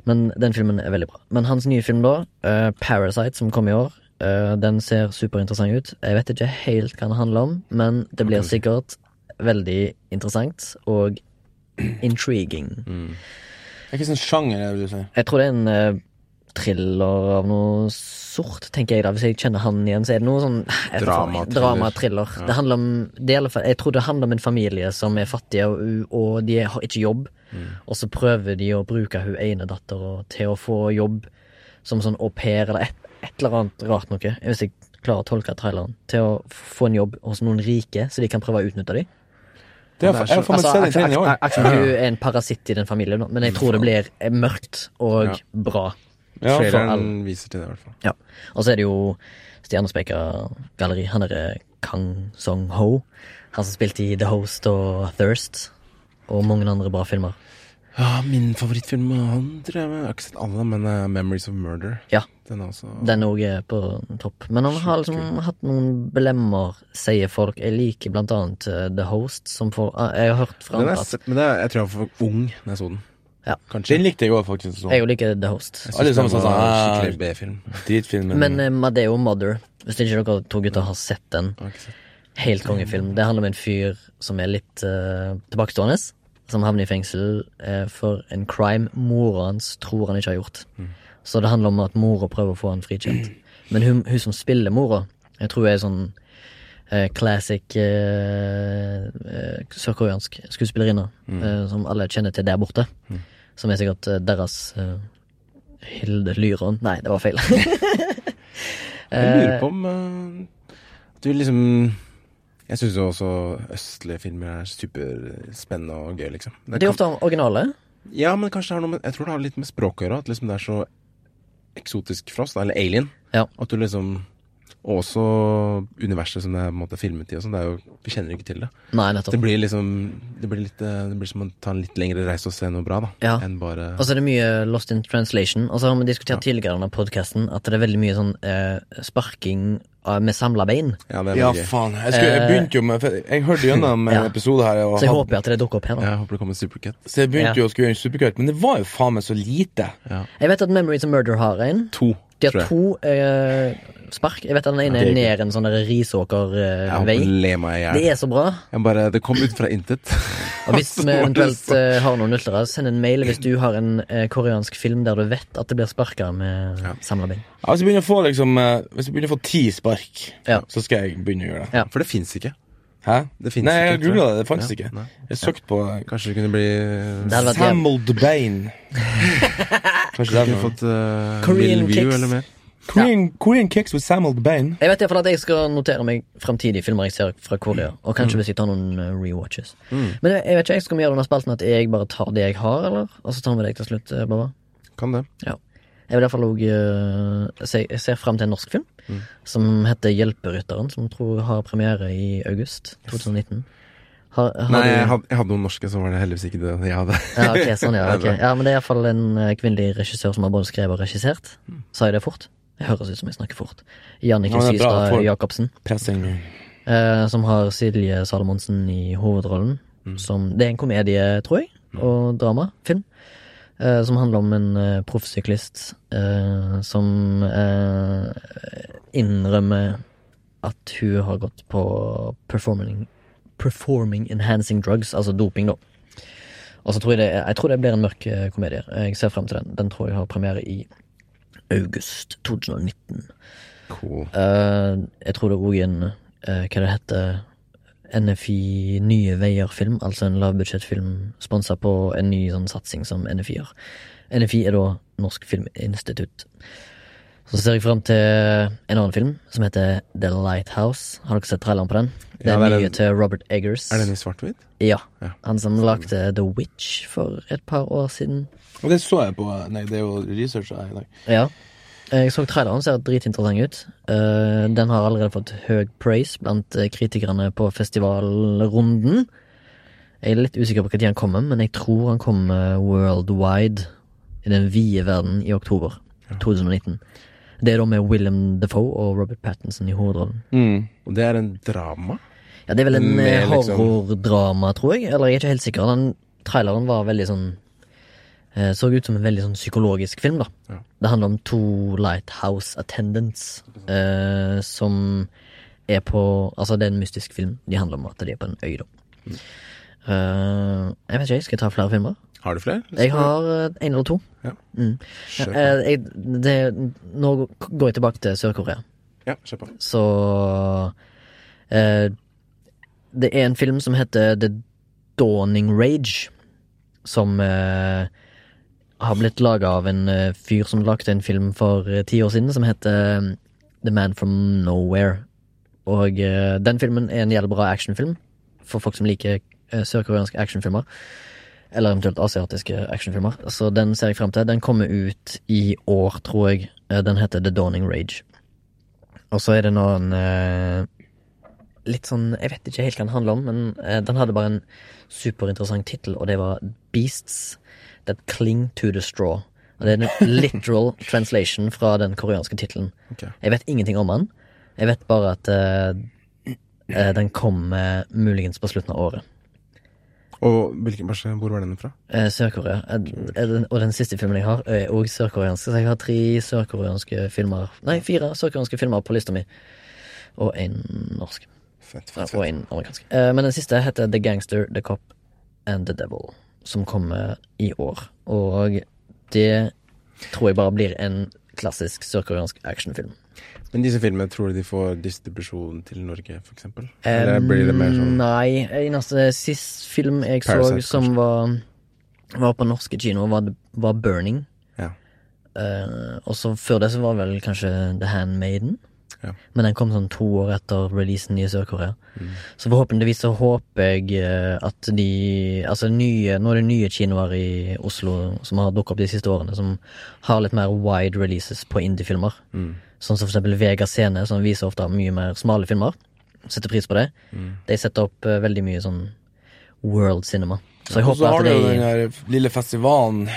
[SPEAKER 1] Men den filmen er veldig bra. Men hans nye film, da, eh, Parasite, som kom i år, eh, den ser superinteressant ut. Jeg vet ikke helt hva den handler om, men det blir sikkert veldig interessant og intriguing.
[SPEAKER 3] Det er ikke sånn sjanger, jeg vil si.
[SPEAKER 1] Jeg tror det er en eh, thriller av noe sort, tenker jeg da. Hvis jeg kjenner han igjen, så er det noe sånn jeg vet
[SPEAKER 2] Drama,
[SPEAKER 1] faen,
[SPEAKER 2] thriller.
[SPEAKER 1] drama thriller. Det handler om, det er i alle fall, jeg tror det handler om en familie som er fattige, og, u- og de har ikke jobb. Og så prøver de å bruke hun ene datteren til å få jobb som sånn au pair eller et, et eller annet rart noe, hvis jeg klarer å tolke traileren, til å få en jobb hos noen rike, så de kan prøve å utnytte dem.
[SPEAKER 3] Det er, jeg har faen meg
[SPEAKER 1] Altså,
[SPEAKER 3] sett
[SPEAKER 1] Aksel
[SPEAKER 3] den filmen i år.
[SPEAKER 1] Aksel Hun er en parasitt i den familien, nå, men jeg tror det blir mørkt og bra.
[SPEAKER 3] Ja, for
[SPEAKER 2] Traileren viser til det, i hvert fall.
[SPEAKER 1] Ja. Og så er det jo Stjernespekra galleri. Han derre Kang Song-ho. Han som spilte i The Host og Thirst. Og mange andre bra filmer.
[SPEAKER 2] Ja, min favorittfilm av han, tror jeg Jeg har ikke sett alle, men eh, 'Memories of Murder'.
[SPEAKER 1] Ja.
[SPEAKER 2] Den er også
[SPEAKER 1] Den òg er på topp. Men han har liksom hatt noen blemmer, sier folk. Jeg liker blant annet eh, The Host, som får ah, Jeg har hørt fra
[SPEAKER 2] Den
[SPEAKER 1] andre
[SPEAKER 2] er,
[SPEAKER 1] at
[SPEAKER 2] men det er, jeg tror jeg var for ung da jeg så den.
[SPEAKER 1] Ja.
[SPEAKER 2] Kanskje.
[SPEAKER 3] Den likte jeg òg, faktisk. sånn.
[SPEAKER 1] Jeg jo liker The Host.
[SPEAKER 2] Jeg
[SPEAKER 3] Alle
[SPEAKER 2] synes
[SPEAKER 3] sammen
[SPEAKER 2] det
[SPEAKER 3] sa
[SPEAKER 2] var
[SPEAKER 1] "Ah."
[SPEAKER 3] sånn,
[SPEAKER 2] Skikkelig B-film.
[SPEAKER 3] Dritfilmen.
[SPEAKER 1] Men eh, Madeo Mother, hvis ikke dere to gutter har sett den,
[SPEAKER 2] Jeg har ikke sett.
[SPEAKER 1] Helt kongefilm. Det handler om en fyr som er litt eh, tilbakestående. Som havner i fengsel eh, for en crime mora hans tror han ikke har gjort. Så det handler om at mora prøver å få han frikjent. Men hun, hun som spiller mora, jeg tror er sånn eh, classic eh, eh, sørkoreansk skuespillerinne. Eh, som alle kjenner til der borte. Som er sikkert eh, deres eh, Hilde Lyron Nei, det var feil.
[SPEAKER 2] Jeg lurer på om eh, at du liksom Jeg syns jo også østlige filmer er superspennende og gøy, liksom. Det
[SPEAKER 1] De er
[SPEAKER 2] kan-
[SPEAKER 1] ofte originale.
[SPEAKER 2] Ja, men kanskje det har noe med Jeg tror det har litt med språk å gjøre. At liksom det er så eksotisk for oss, da, eller alien.
[SPEAKER 1] Ja.
[SPEAKER 2] At du liksom Og også universet som det er på en måte filmet i og sånn. Det er jo Vi kjenner jo ikke til det.
[SPEAKER 1] Nei,
[SPEAKER 2] Det
[SPEAKER 1] nettopp.
[SPEAKER 2] blir liksom Det blir litt eh, Det blir som å ta en litt lengre reise og se noe bra, da.
[SPEAKER 1] Ja.
[SPEAKER 2] Enn bare
[SPEAKER 1] Og så er det mye lost in translation. Og så har vi diskutert tidligere i denne podcasten at det er veldig mye sånn eh, sparking av- med samla bein.
[SPEAKER 2] Ja, det er
[SPEAKER 3] Ja,
[SPEAKER 2] veldig gøy.
[SPEAKER 3] faen. Jeg, skulle, jeg begynte jo med for Jeg hørte gjennom en
[SPEAKER 1] Ja.
[SPEAKER 3] episode her, og
[SPEAKER 1] Så jeg
[SPEAKER 3] hadde-
[SPEAKER 1] håper at det dukker opp her nå.
[SPEAKER 2] Jeg håper det kommer supercut.
[SPEAKER 3] så jeg
[SPEAKER 1] Ja.
[SPEAKER 3] begynte jo å skulle gjøre en supercut, men det var jo faen meg så lite.
[SPEAKER 1] Jeg vet at Memories of Murder har en.
[SPEAKER 2] To,
[SPEAKER 1] De
[SPEAKER 2] tror
[SPEAKER 1] har
[SPEAKER 2] jeg.
[SPEAKER 1] to eh, spark. Jeg vet at den ene
[SPEAKER 3] Ja,
[SPEAKER 1] er
[SPEAKER 3] det er
[SPEAKER 1] ned en sånn der
[SPEAKER 2] Jeg håper
[SPEAKER 1] Risåker-vei.
[SPEAKER 2] det ler meg i
[SPEAKER 1] det
[SPEAKER 2] hjel.
[SPEAKER 1] er så bra.
[SPEAKER 2] Jeg bare Det kom ut fra intet.
[SPEAKER 1] Og hvis
[SPEAKER 2] Så
[SPEAKER 1] vi
[SPEAKER 2] var det
[SPEAKER 1] eventuelt
[SPEAKER 2] så-
[SPEAKER 1] eh, har noen lyttere, send en mail hvis du har en eh, koreansk film der du vet at det blir sparka med
[SPEAKER 2] Ja.
[SPEAKER 1] samla bein.
[SPEAKER 3] Ja, Hvis jeg begynner å få liksom eh, Hvis jeg begynner å få ti spark,
[SPEAKER 1] Ja.
[SPEAKER 3] så skal jeg begynne å gjøre det.
[SPEAKER 1] Ja.
[SPEAKER 2] For det fins ikke.
[SPEAKER 3] Hæ?
[SPEAKER 2] Det finnes
[SPEAKER 3] Nei, jeg
[SPEAKER 2] ikke, tror jeg.
[SPEAKER 3] googla det. Det fantes
[SPEAKER 2] Ja,
[SPEAKER 3] ikke.
[SPEAKER 2] nei.
[SPEAKER 3] Jeg søkte på eh,
[SPEAKER 2] Kanskje det kunne bli
[SPEAKER 1] Det hadde vært jævlig.
[SPEAKER 3] Samled Bain. Kanskje det er
[SPEAKER 2] Kunne
[SPEAKER 3] noe.
[SPEAKER 2] fått eh,
[SPEAKER 1] Korean
[SPEAKER 2] Bill View
[SPEAKER 1] kicks.
[SPEAKER 2] eller mer.
[SPEAKER 3] Korean, Korean Kicks with Samled Bain.
[SPEAKER 1] Jeg vet i hvert fall at jeg skal notere meg fremtidige filmer jeg ser fra
[SPEAKER 3] Mm.
[SPEAKER 1] Korea. Og kanskje hvis jeg tar noen eh, rewatches. Men jeg, jeg vet ikke, jeg skal vi gjøre det under spalten at jeg bare tar det jeg har, eller? Og så tar vi deg til slutt, eh, Baba.
[SPEAKER 2] Kan det.
[SPEAKER 1] Ja. Jeg vil i hvert fall òg se, Jeg ser frem til en norsk film
[SPEAKER 3] Mm.
[SPEAKER 1] som heter Hjelperytteren, som tror jeg har premiere i august 2019. Har, har
[SPEAKER 2] Nei,
[SPEAKER 1] du-
[SPEAKER 2] jeg hadde, jeg hadde noen norske, så var det heldigvis ikke det jeg hadde.
[SPEAKER 1] Ja, ok, sånn ja, ok. ja, men det er iallfall en eh, kvinnelig regissør som har både skrevet og regissert. Sa jeg det fort? Jeg høres ut som jeg snakker fort. Jannicke
[SPEAKER 3] Mm. Ja, men det er bra,
[SPEAKER 1] Systad
[SPEAKER 3] folk-
[SPEAKER 1] Jacobsen.
[SPEAKER 3] Pressing.
[SPEAKER 1] Eh, som har Silje Salomonsen i hovedrollen. Som, det er en komedie, tror jeg, og drama. Film. eh, som handler om en eh, proffsyklist eh, som eh, innrømmer at hun har gått på performing, performing enhancing drugs, altså doping, da. Og så tror jeg det, jeg tror det blir en mørk eh, komedie. Jeg ser frem til den. Den tror jeg har premiere i august 2019.
[SPEAKER 2] Cool.
[SPEAKER 1] Eh, jeg tror det òg en eh, Hva det heter NFI Nye Veier-film, altså en lavbudsjettfilm sponsa på en ny sånn satsing som NFI har. NFI er da Norsk Filminstitutt. Så ser jeg fram til en annen film som heter The Lighthouse. Har dere sett traileren på den? Det
[SPEAKER 2] Ja,
[SPEAKER 1] er
[SPEAKER 2] det er
[SPEAKER 1] nye
[SPEAKER 2] den-
[SPEAKER 1] til Robert Eggers.
[SPEAKER 2] Er den i svart-hvitt?
[SPEAKER 1] Ja.
[SPEAKER 2] Ja.
[SPEAKER 1] Han som lagde The Witch for et par år siden.
[SPEAKER 3] Og det så jeg på Nei, det er jo research jeg i dag.
[SPEAKER 1] Ja. Jeg så traileren, ser dritinteressant ut. Eh, Den har allerede fått høy praise blant eh, kritikerne på festivalrunden. Jeg er litt usikker på når han kommer, men jeg tror han kommer worldwide i den vide verden i oktober 2019. Det er da med William Defoe og Robert Pattinson i hovedrollen.
[SPEAKER 3] Mm.
[SPEAKER 2] Og det er en drama?
[SPEAKER 1] Ja, Det er vel en
[SPEAKER 2] Med
[SPEAKER 1] eh,
[SPEAKER 2] liksom-
[SPEAKER 1] horrordrama, tror jeg. Eller jeg er ikke helt sikker. Den traileren var veldig sånn eh, Så ut som en veldig sånn psykologisk film, da.
[SPEAKER 2] Ja.
[SPEAKER 1] Det handler om to lighthouse attendants eh, som er på Altså, det er en mystisk film. De handler om at de er på en øy, da.
[SPEAKER 2] Mm.
[SPEAKER 1] Eh, jeg vet ikke, jeg skal jeg ta flere filmer?
[SPEAKER 2] Har du flere?
[SPEAKER 1] Jeg har eh, en eller to.
[SPEAKER 2] Ja.
[SPEAKER 1] Mm.
[SPEAKER 2] Kjør på.
[SPEAKER 1] Eh, jeg, det, nå går jeg tilbake til Sør-Korea.
[SPEAKER 2] Ja, kjør på.
[SPEAKER 1] Så eh, Det er en film som heter The Dawning Rage, som eh, har blitt laga av en eh, fyr som lagde en film for eh, ti år siden som heter eh, The Man From Nowhere. Og eh, den filmen er en jævlig bra actionfilm for folk som liker eh, sørkoreanske actionfilmer. Eller eventuelt asiatiske actionfilmer. Så den ser jeg frem til. Den kommer ut i år, tror jeg. Eh, Den heter The Dawning Rage. Og så er det nå en eh, litt sånn Jeg vet ikke helt hva den handler om, men eh, den hadde bare en superinteressant tittel, og det var Beasts That Cling to the Straw. Og det er en literal translation fra den koreanske tittelen.
[SPEAKER 2] Ok.
[SPEAKER 1] Jeg vet ingenting om den. Jeg vet bare at eh, eh, den kom eh, muligens på slutten av året.
[SPEAKER 2] Og hvilken bæsje, hvor var den fra?
[SPEAKER 1] Eh, Sør-Korea. Eh, eh, den- Og den siste filmen jeg har, er òg sørkoreansk. Så jeg har tre sørkoreanske filmer Nei, fire sørkoreanske filmer på lista mi. Og én norsk.
[SPEAKER 2] Fett,
[SPEAKER 1] Ja,
[SPEAKER 2] fett,
[SPEAKER 1] Og
[SPEAKER 2] fett.
[SPEAKER 1] en amerikansk. Eh, Men den siste heter The Gangster, The Cop and The Devil, som kommer i år. Og det tror jeg bare blir en klassisk sørkoreansk actionfilm.
[SPEAKER 2] Men disse filmene, tror du de får distribusjon til Norge, for eksempel?
[SPEAKER 1] Eh,
[SPEAKER 2] Eller blir det mer sånn
[SPEAKER 1] Nei, eneste sist film jeg
[SPEAKER 2] Parasite,
[SPEAKER 1] så som var, var på norske kino, var, var Burning.
[SPEAKER 2] Ja.
[SPEAKER 1] Eh, og så før det så var vel kanskje The Handmaiden.
[SPEAKER 2] Ja.
[SPEAKER 1] Men den kom sånn to år etter releasen i Sør-Korea.
[SPEAKER 3] Mm.
[SPEAKER 1] Så forhåpentligvis så håper jeg eh, at de Altså nye, nå er det nye kinoer i Oslo som har dukket opp de siste årene, som har litt mer wide releases på indiefilmer.
[SPEAKER 3] Mm.
[SPEAKER 1] Sånn som for eksempel Vega Scene, som viser ofte mye mer smale filmer. Setter pris på det.
[SPEAKER 3] Mm.
[SPEAKER 1] De setter opp eh, veldig mye sånn world cinema. Så jeg
[SPEAKER 3] Og så
[SPEAKER 1] håper
[SPEAKER 3] har
[SPEAKER 1] at
[SPEAKER 3] du
[SPEAKER 1] de
[SPEAKER 3] jo den eh, der lille festivalen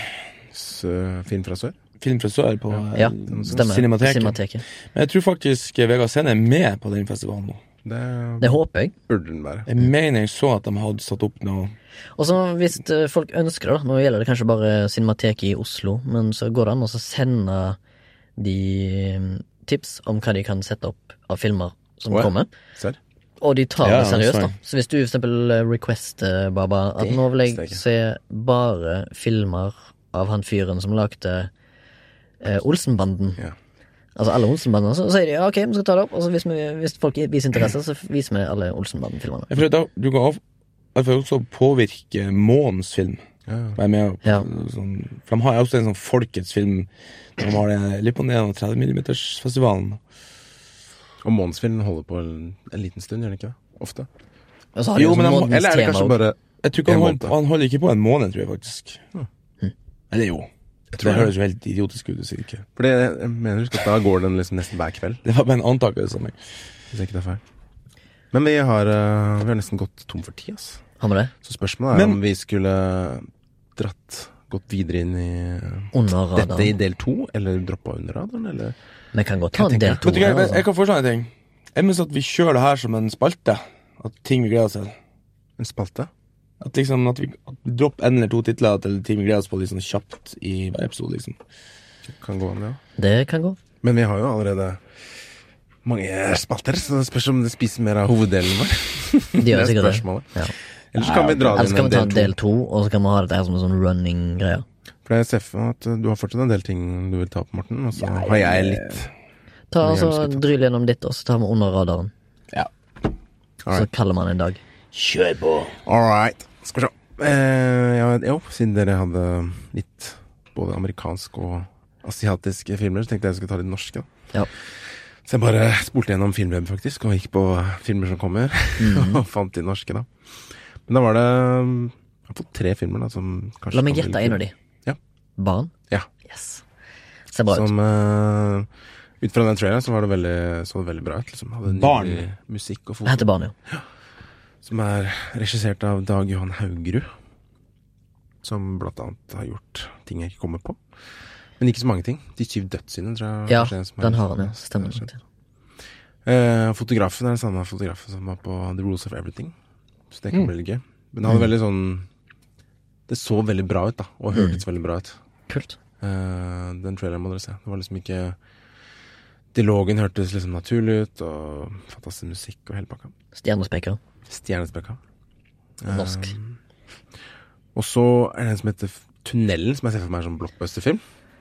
[SPEAKER 2] sø- film fra sør?
[SPEAKER 3] eh, Film fra sør på eh,
[SPEAKER 1] Ja, stemmer.
[SPEAKER 3] Cinemateket.
[SPEAKER 1] Cinemateket.
[SPEAKER 3] Men jeg tror faktisk eh, Vegard Sen er med på den festivalen nå.
[SPEAKER 2] Det
[SPEAKER 1] Det håper jeg.
[SPEAKER 2] burde den være.
[SPEAKER 1] Mm.
[SPEAKER 3] Jeg mener jeg så at de hadde satt opp noe
[SPEAKER 1] Og så hvis eh, folk ønsker det, da, nå gjelder det kanskje bare Cinemateket i Oslo, men så går det an å så sende de mm, tips om hva de kan sette opp av filmer som
[SPEAKER 2] Å ja.
[SPEAKER 1] kommer.
[SPEAKER 2] Serr?
[SPEAKER 1] Og de tar
[SPEAKER 3] Ja,
[SPEAKER 1] det seriøst, da.
[SPEAKER 3] sorry.
[SPEAKER 1] Så hvis du for eksempel eh, requester, Baba, at
[SPEAKER 2] Det
[SPEAKER 1] nå vil
[SPEAKER 2] visste jeg
[SPEAKER 1] jeg
[SPEAKER 2] ikke.
[SPEAKER 1] se bare filmer av han fyren som lagde eh, Olsenbanden.
[SPEAKER 2] Ja.
[SPEAKER 1] Altså alle Olsenbandene. Så sier de ja, ok, vi skal ta det opp. Og så hvis, vi, hvis folk viser interesse, så viser vi alle Olsenbanden-filmene.
[SPEAKER 3] Jeg føler at da, du kan av, jeg føler også påvirke månens film.
[SPEAKER 2] Ja, ja.
[SPEAKER 3] Være med, og-
[SPEAKER 1] Ja.
[SPEAKER 3] sånn, for de har jo også en sånn folkets film. De har det litt på ned av 30 mm-festivalen.
[SPEAKER 2] Og Månedsfilm holder på en, en liten stund, gjør den ikke det? Ofte.
[SPEAKER 1] Og så har de
[SPEAKER 3] Jo,
[SPEAKER 1] jo sånn
[SPEAKER 3] men han må-
[SPEAKER 1] månedens
[SPEAKER 2] Eller er det
[SPEAKER 1] tema
[SPEAKER 2] kanskje
[SPEAKER 1] også.
[SPEAKER 2] bare
[SPEAKER 3] Jeg tror ikke han,
[SPEAKER 2] En
[SPEAKER 3] holder-
[SPEAKER 2] måned.
[SPEAKER 3] han holder ikke på en måned, tror jeg faktisk. Eller jo.
[SPEAKER 2] tror
[SPEAKER 3] Hm. det
[SPEAKER 2] det.
[SPEAKER 3] høres jo helt idiotisk ut. å si ikke.
[SPEAKER 2] For det jeg mener husk at da går den liksom nesten hver kveld,
[SPEAKER 3] Det var bare en antakelse. av meg.
[SPEAKER 2] hvis jeg ikke tar feil. Men vi har, eh, vi har nesten gått tom for tid, ass.
[SPEAKER 1] Har vi det?
[SPEAKER 2] Så spørsmålet er
[SPEAKER 3] Men-
[SPEAKER 2] om vi skulle dratt gått videre inn i eh,
[SPEAKER 1] Under radaren.
[SPEAKER 2] dette i del to, eller droppa under radaren, eller
[SPEAKER 1] Vi kan godt ta en
[SPEAKER 2] tenker
[SPEAKER 1] del
[SPEAKER 2] jeg.
[SPEAKER 1] to.
[SPEAKER 3] Vet du hva,
[SPEAKER 1] her,
[SPEAKER 3] jeg,
[SPEAKER 1] altså.
[SPEAKER 3] jeg kan foreslå en ting. Jeg mener at vi kjører det her som en spalte. At ting vi gleder oss til.
[SPEAKER 2] en spalte?
[SPEAKER 3] At liksom, at vi, at vi dropper en eller to titler til ting vi gleder oss på litt sånn kjapt i hver episode. liksom.
[SPEAKER 2] Kan gå an, det ja.
[SPEAKER 1] Det kan gå.
[SPEAKER 2] Men vi har jo allerede mange spalter, så det spørs om det spiser mer av hoveddelen vår.
[SPEAKER 1] De gjør sikkert det.
[SPEAKER 2] spørsmålet.
[SPEAKER 1] Ja.
[SPEAKER 2] Eller så kan vi dra
[SPEAKER 1] Eller
[SPEAKER 2] det
[SPEAKER 1] så kan vi ta
[SPEAKER 2] inn en del
[SPEAKER 1] del to, og så kan vi ha dette her som en sånn running-greie.
[SPEAKER 2] to. For jeg ser for meg at uh, du har fortsatt en del ting du vil ta opp, Morten, og så har jeg litt.
[SPEAKER 1] Ta
[SPEAKER 2] Det er
[SPEAKER 1] altså,
[SPEAKER 2] ganske
[SPEAKER 1] Dryll gjennom ditt, og så tar vi under radaren.
[SPEAKER 3] Ja.
[SPEAKER 1] Så kaller man en dag.
[SPEAKER 3] Kjør på!
[SPEAKER 2] All right. Skal vi se. Eh, ja, jo, siden dere hadde litt både amerikansk og asiatiske filmer, så tenkte jeg jeg skulle ta litt norske. da.
[SPEAKER 1] Ja.
[SPEAKER 2] Så jeg bare spolte gjennom Filmweb, faktisk, og gikk på filmer som kommer,
[SPEAKER 1] Mhm.
[SPEAKER 2] og fant de norske, da. Men da var det um, Jeg har fått tre filmer, da, som kanskje
[SPEAKER 1] La meg
[SPEAKER 2] kan bli
[SPEAKER 1] gjette
[SPEAKER 2] litt-
[SPEAKER 1] en av de.
[SPEAKER 2] Ja.
[SPEAKER 1] Barn?
[SPEAKER 2] Ja.
[SPEAKER 1] Yes. Ser bra ut.
[SPEAKER 2] Som eh, Ut fra den traileren så var det veldig, så det veldig bra ut. Liksom. Hadde nydelig
[SPEAKER 3] Barn.
[SPEAKER 2] musikk og
[SPEAKER 1] Det
[SPEAKER 2] foto.
[SPEAKER 1] heter Barn, jo.
[SPEAKER 2] Som er regissert av Dag Johan Haugerud. Som blant annet har gjort ting jeg ikke kommer på. Men ikke så mange ting. De syv dødssyndene, tror jeg.
[SPEAKER 1] Ja,
[SPEAKER 2] kanskje er den som er
[SPEAKER 1] den
[SPEAKER 2] mest-
[SPEAKER 1] har han, sånn, ja. Stemmer.
[SPEAKER 2] mest
[SPEAKER 1] nok,
[SPEAKER 2] kjent.
[SPEAKER 1] ja.
[SPEAKER 2] Eh, fotografen er den samme fotografen som var på The Rules of Everything. Så det kan bli litt gøy. Men det
[SPEAKER 1] Mm.
[SPEAKER 2] hadde veldig sånn Det så veldig bra ut, da. Og hørtes veldig bra ut.
[SPEAKER 1] Kult.
[SPEAKER 2] Eh, den traileren må dere se. Det var liksom ikke Dialogen hørtes liksom naturlig ut, og fantastisk musikk og hele pakka.
[SPEAKER 1] Stjernespeker.
[SPEAKER 2] Stjernespekka.
[SPEAKER 1] Norsk.
[SPEAKER 2] Og så er det en som heter F- Tunnelen, som jeg ser for meg er en sånn blockbuster-film.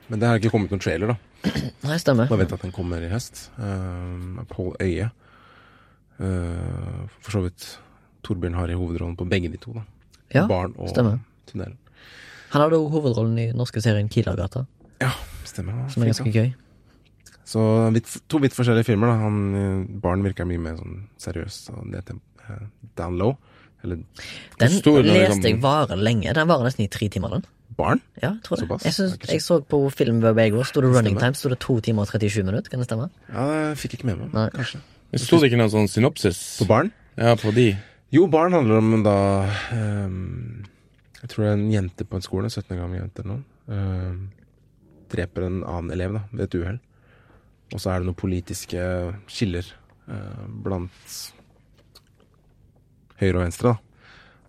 [SPEAKER 2] Men det har ikke kommet noen trailer, da.
[SPEAKER 1] Nei, stemmer.
[SPEAKER 2] Bare vet at den kommer i høst. Eh, av Pål Øye. Eh, for så vidt Torbjørn har i hovedrollen på begge de to, da.
[SPEAKER 1] Ja,
[SPEAKER 2] Barn og
[SPEAKER 1] stemmer.
[SPEAKER 2] Tunnelen.
[SPEAKER 1] Han hadde jo hovedrollen i den norske serien Kilagata,
[SPEAKER 2] Ja, stemmer.
[SPEAKER 1] som er ganske gøy.
[SPEAKER 2] Så vidt, to vidt forskjellige filmer. da han, eh, Barn virker mye mer sånn seriøs og ned til eh, down low. Eller
[SPEAKER 1] Den
[SPEAKER 2] stor den er,
[SPEAKER 1] leste jeg
[SPEAKER 2] liksom-
[SPEAKER 1] varer lenge. Den varer nesten i tre timer. den
[SPEAKER 2] barn?
[SPEAKER 1] Ja, jeg tror det.
[SPEAKER 2] Såpass?
[SPEAKER 1] Jeg, synes,
[SPEAKER 2] Det er ikke
[SPEAKER 1] jeg så på filmweb i går, sto det running
[SPEAKER 2] Stemmer.
[SPEAKER 1] time, sto det to timer og 37 minutter, kan det stemme?
[SPEAKER 2] Ja, det fikk jeg ikke med meg,
[SPEAKER 1] Nei.
[SPEAKER 2] men kanskje.
[SPEAKER 3] Sto det ikke noen sånn synopsis
[SPEAKER 2] På barn?
[SPEAKER 3] ja, på de?
[SPEAKER 2] Jo, barn handler om da ehm, Jeg tror det er en jente på en skole, 17 år gammel jente eller noe, ehm, dreper en annen elev da, ved et uhell. Og så er det noen politiske skiller eh, blant høyre og venstre, da.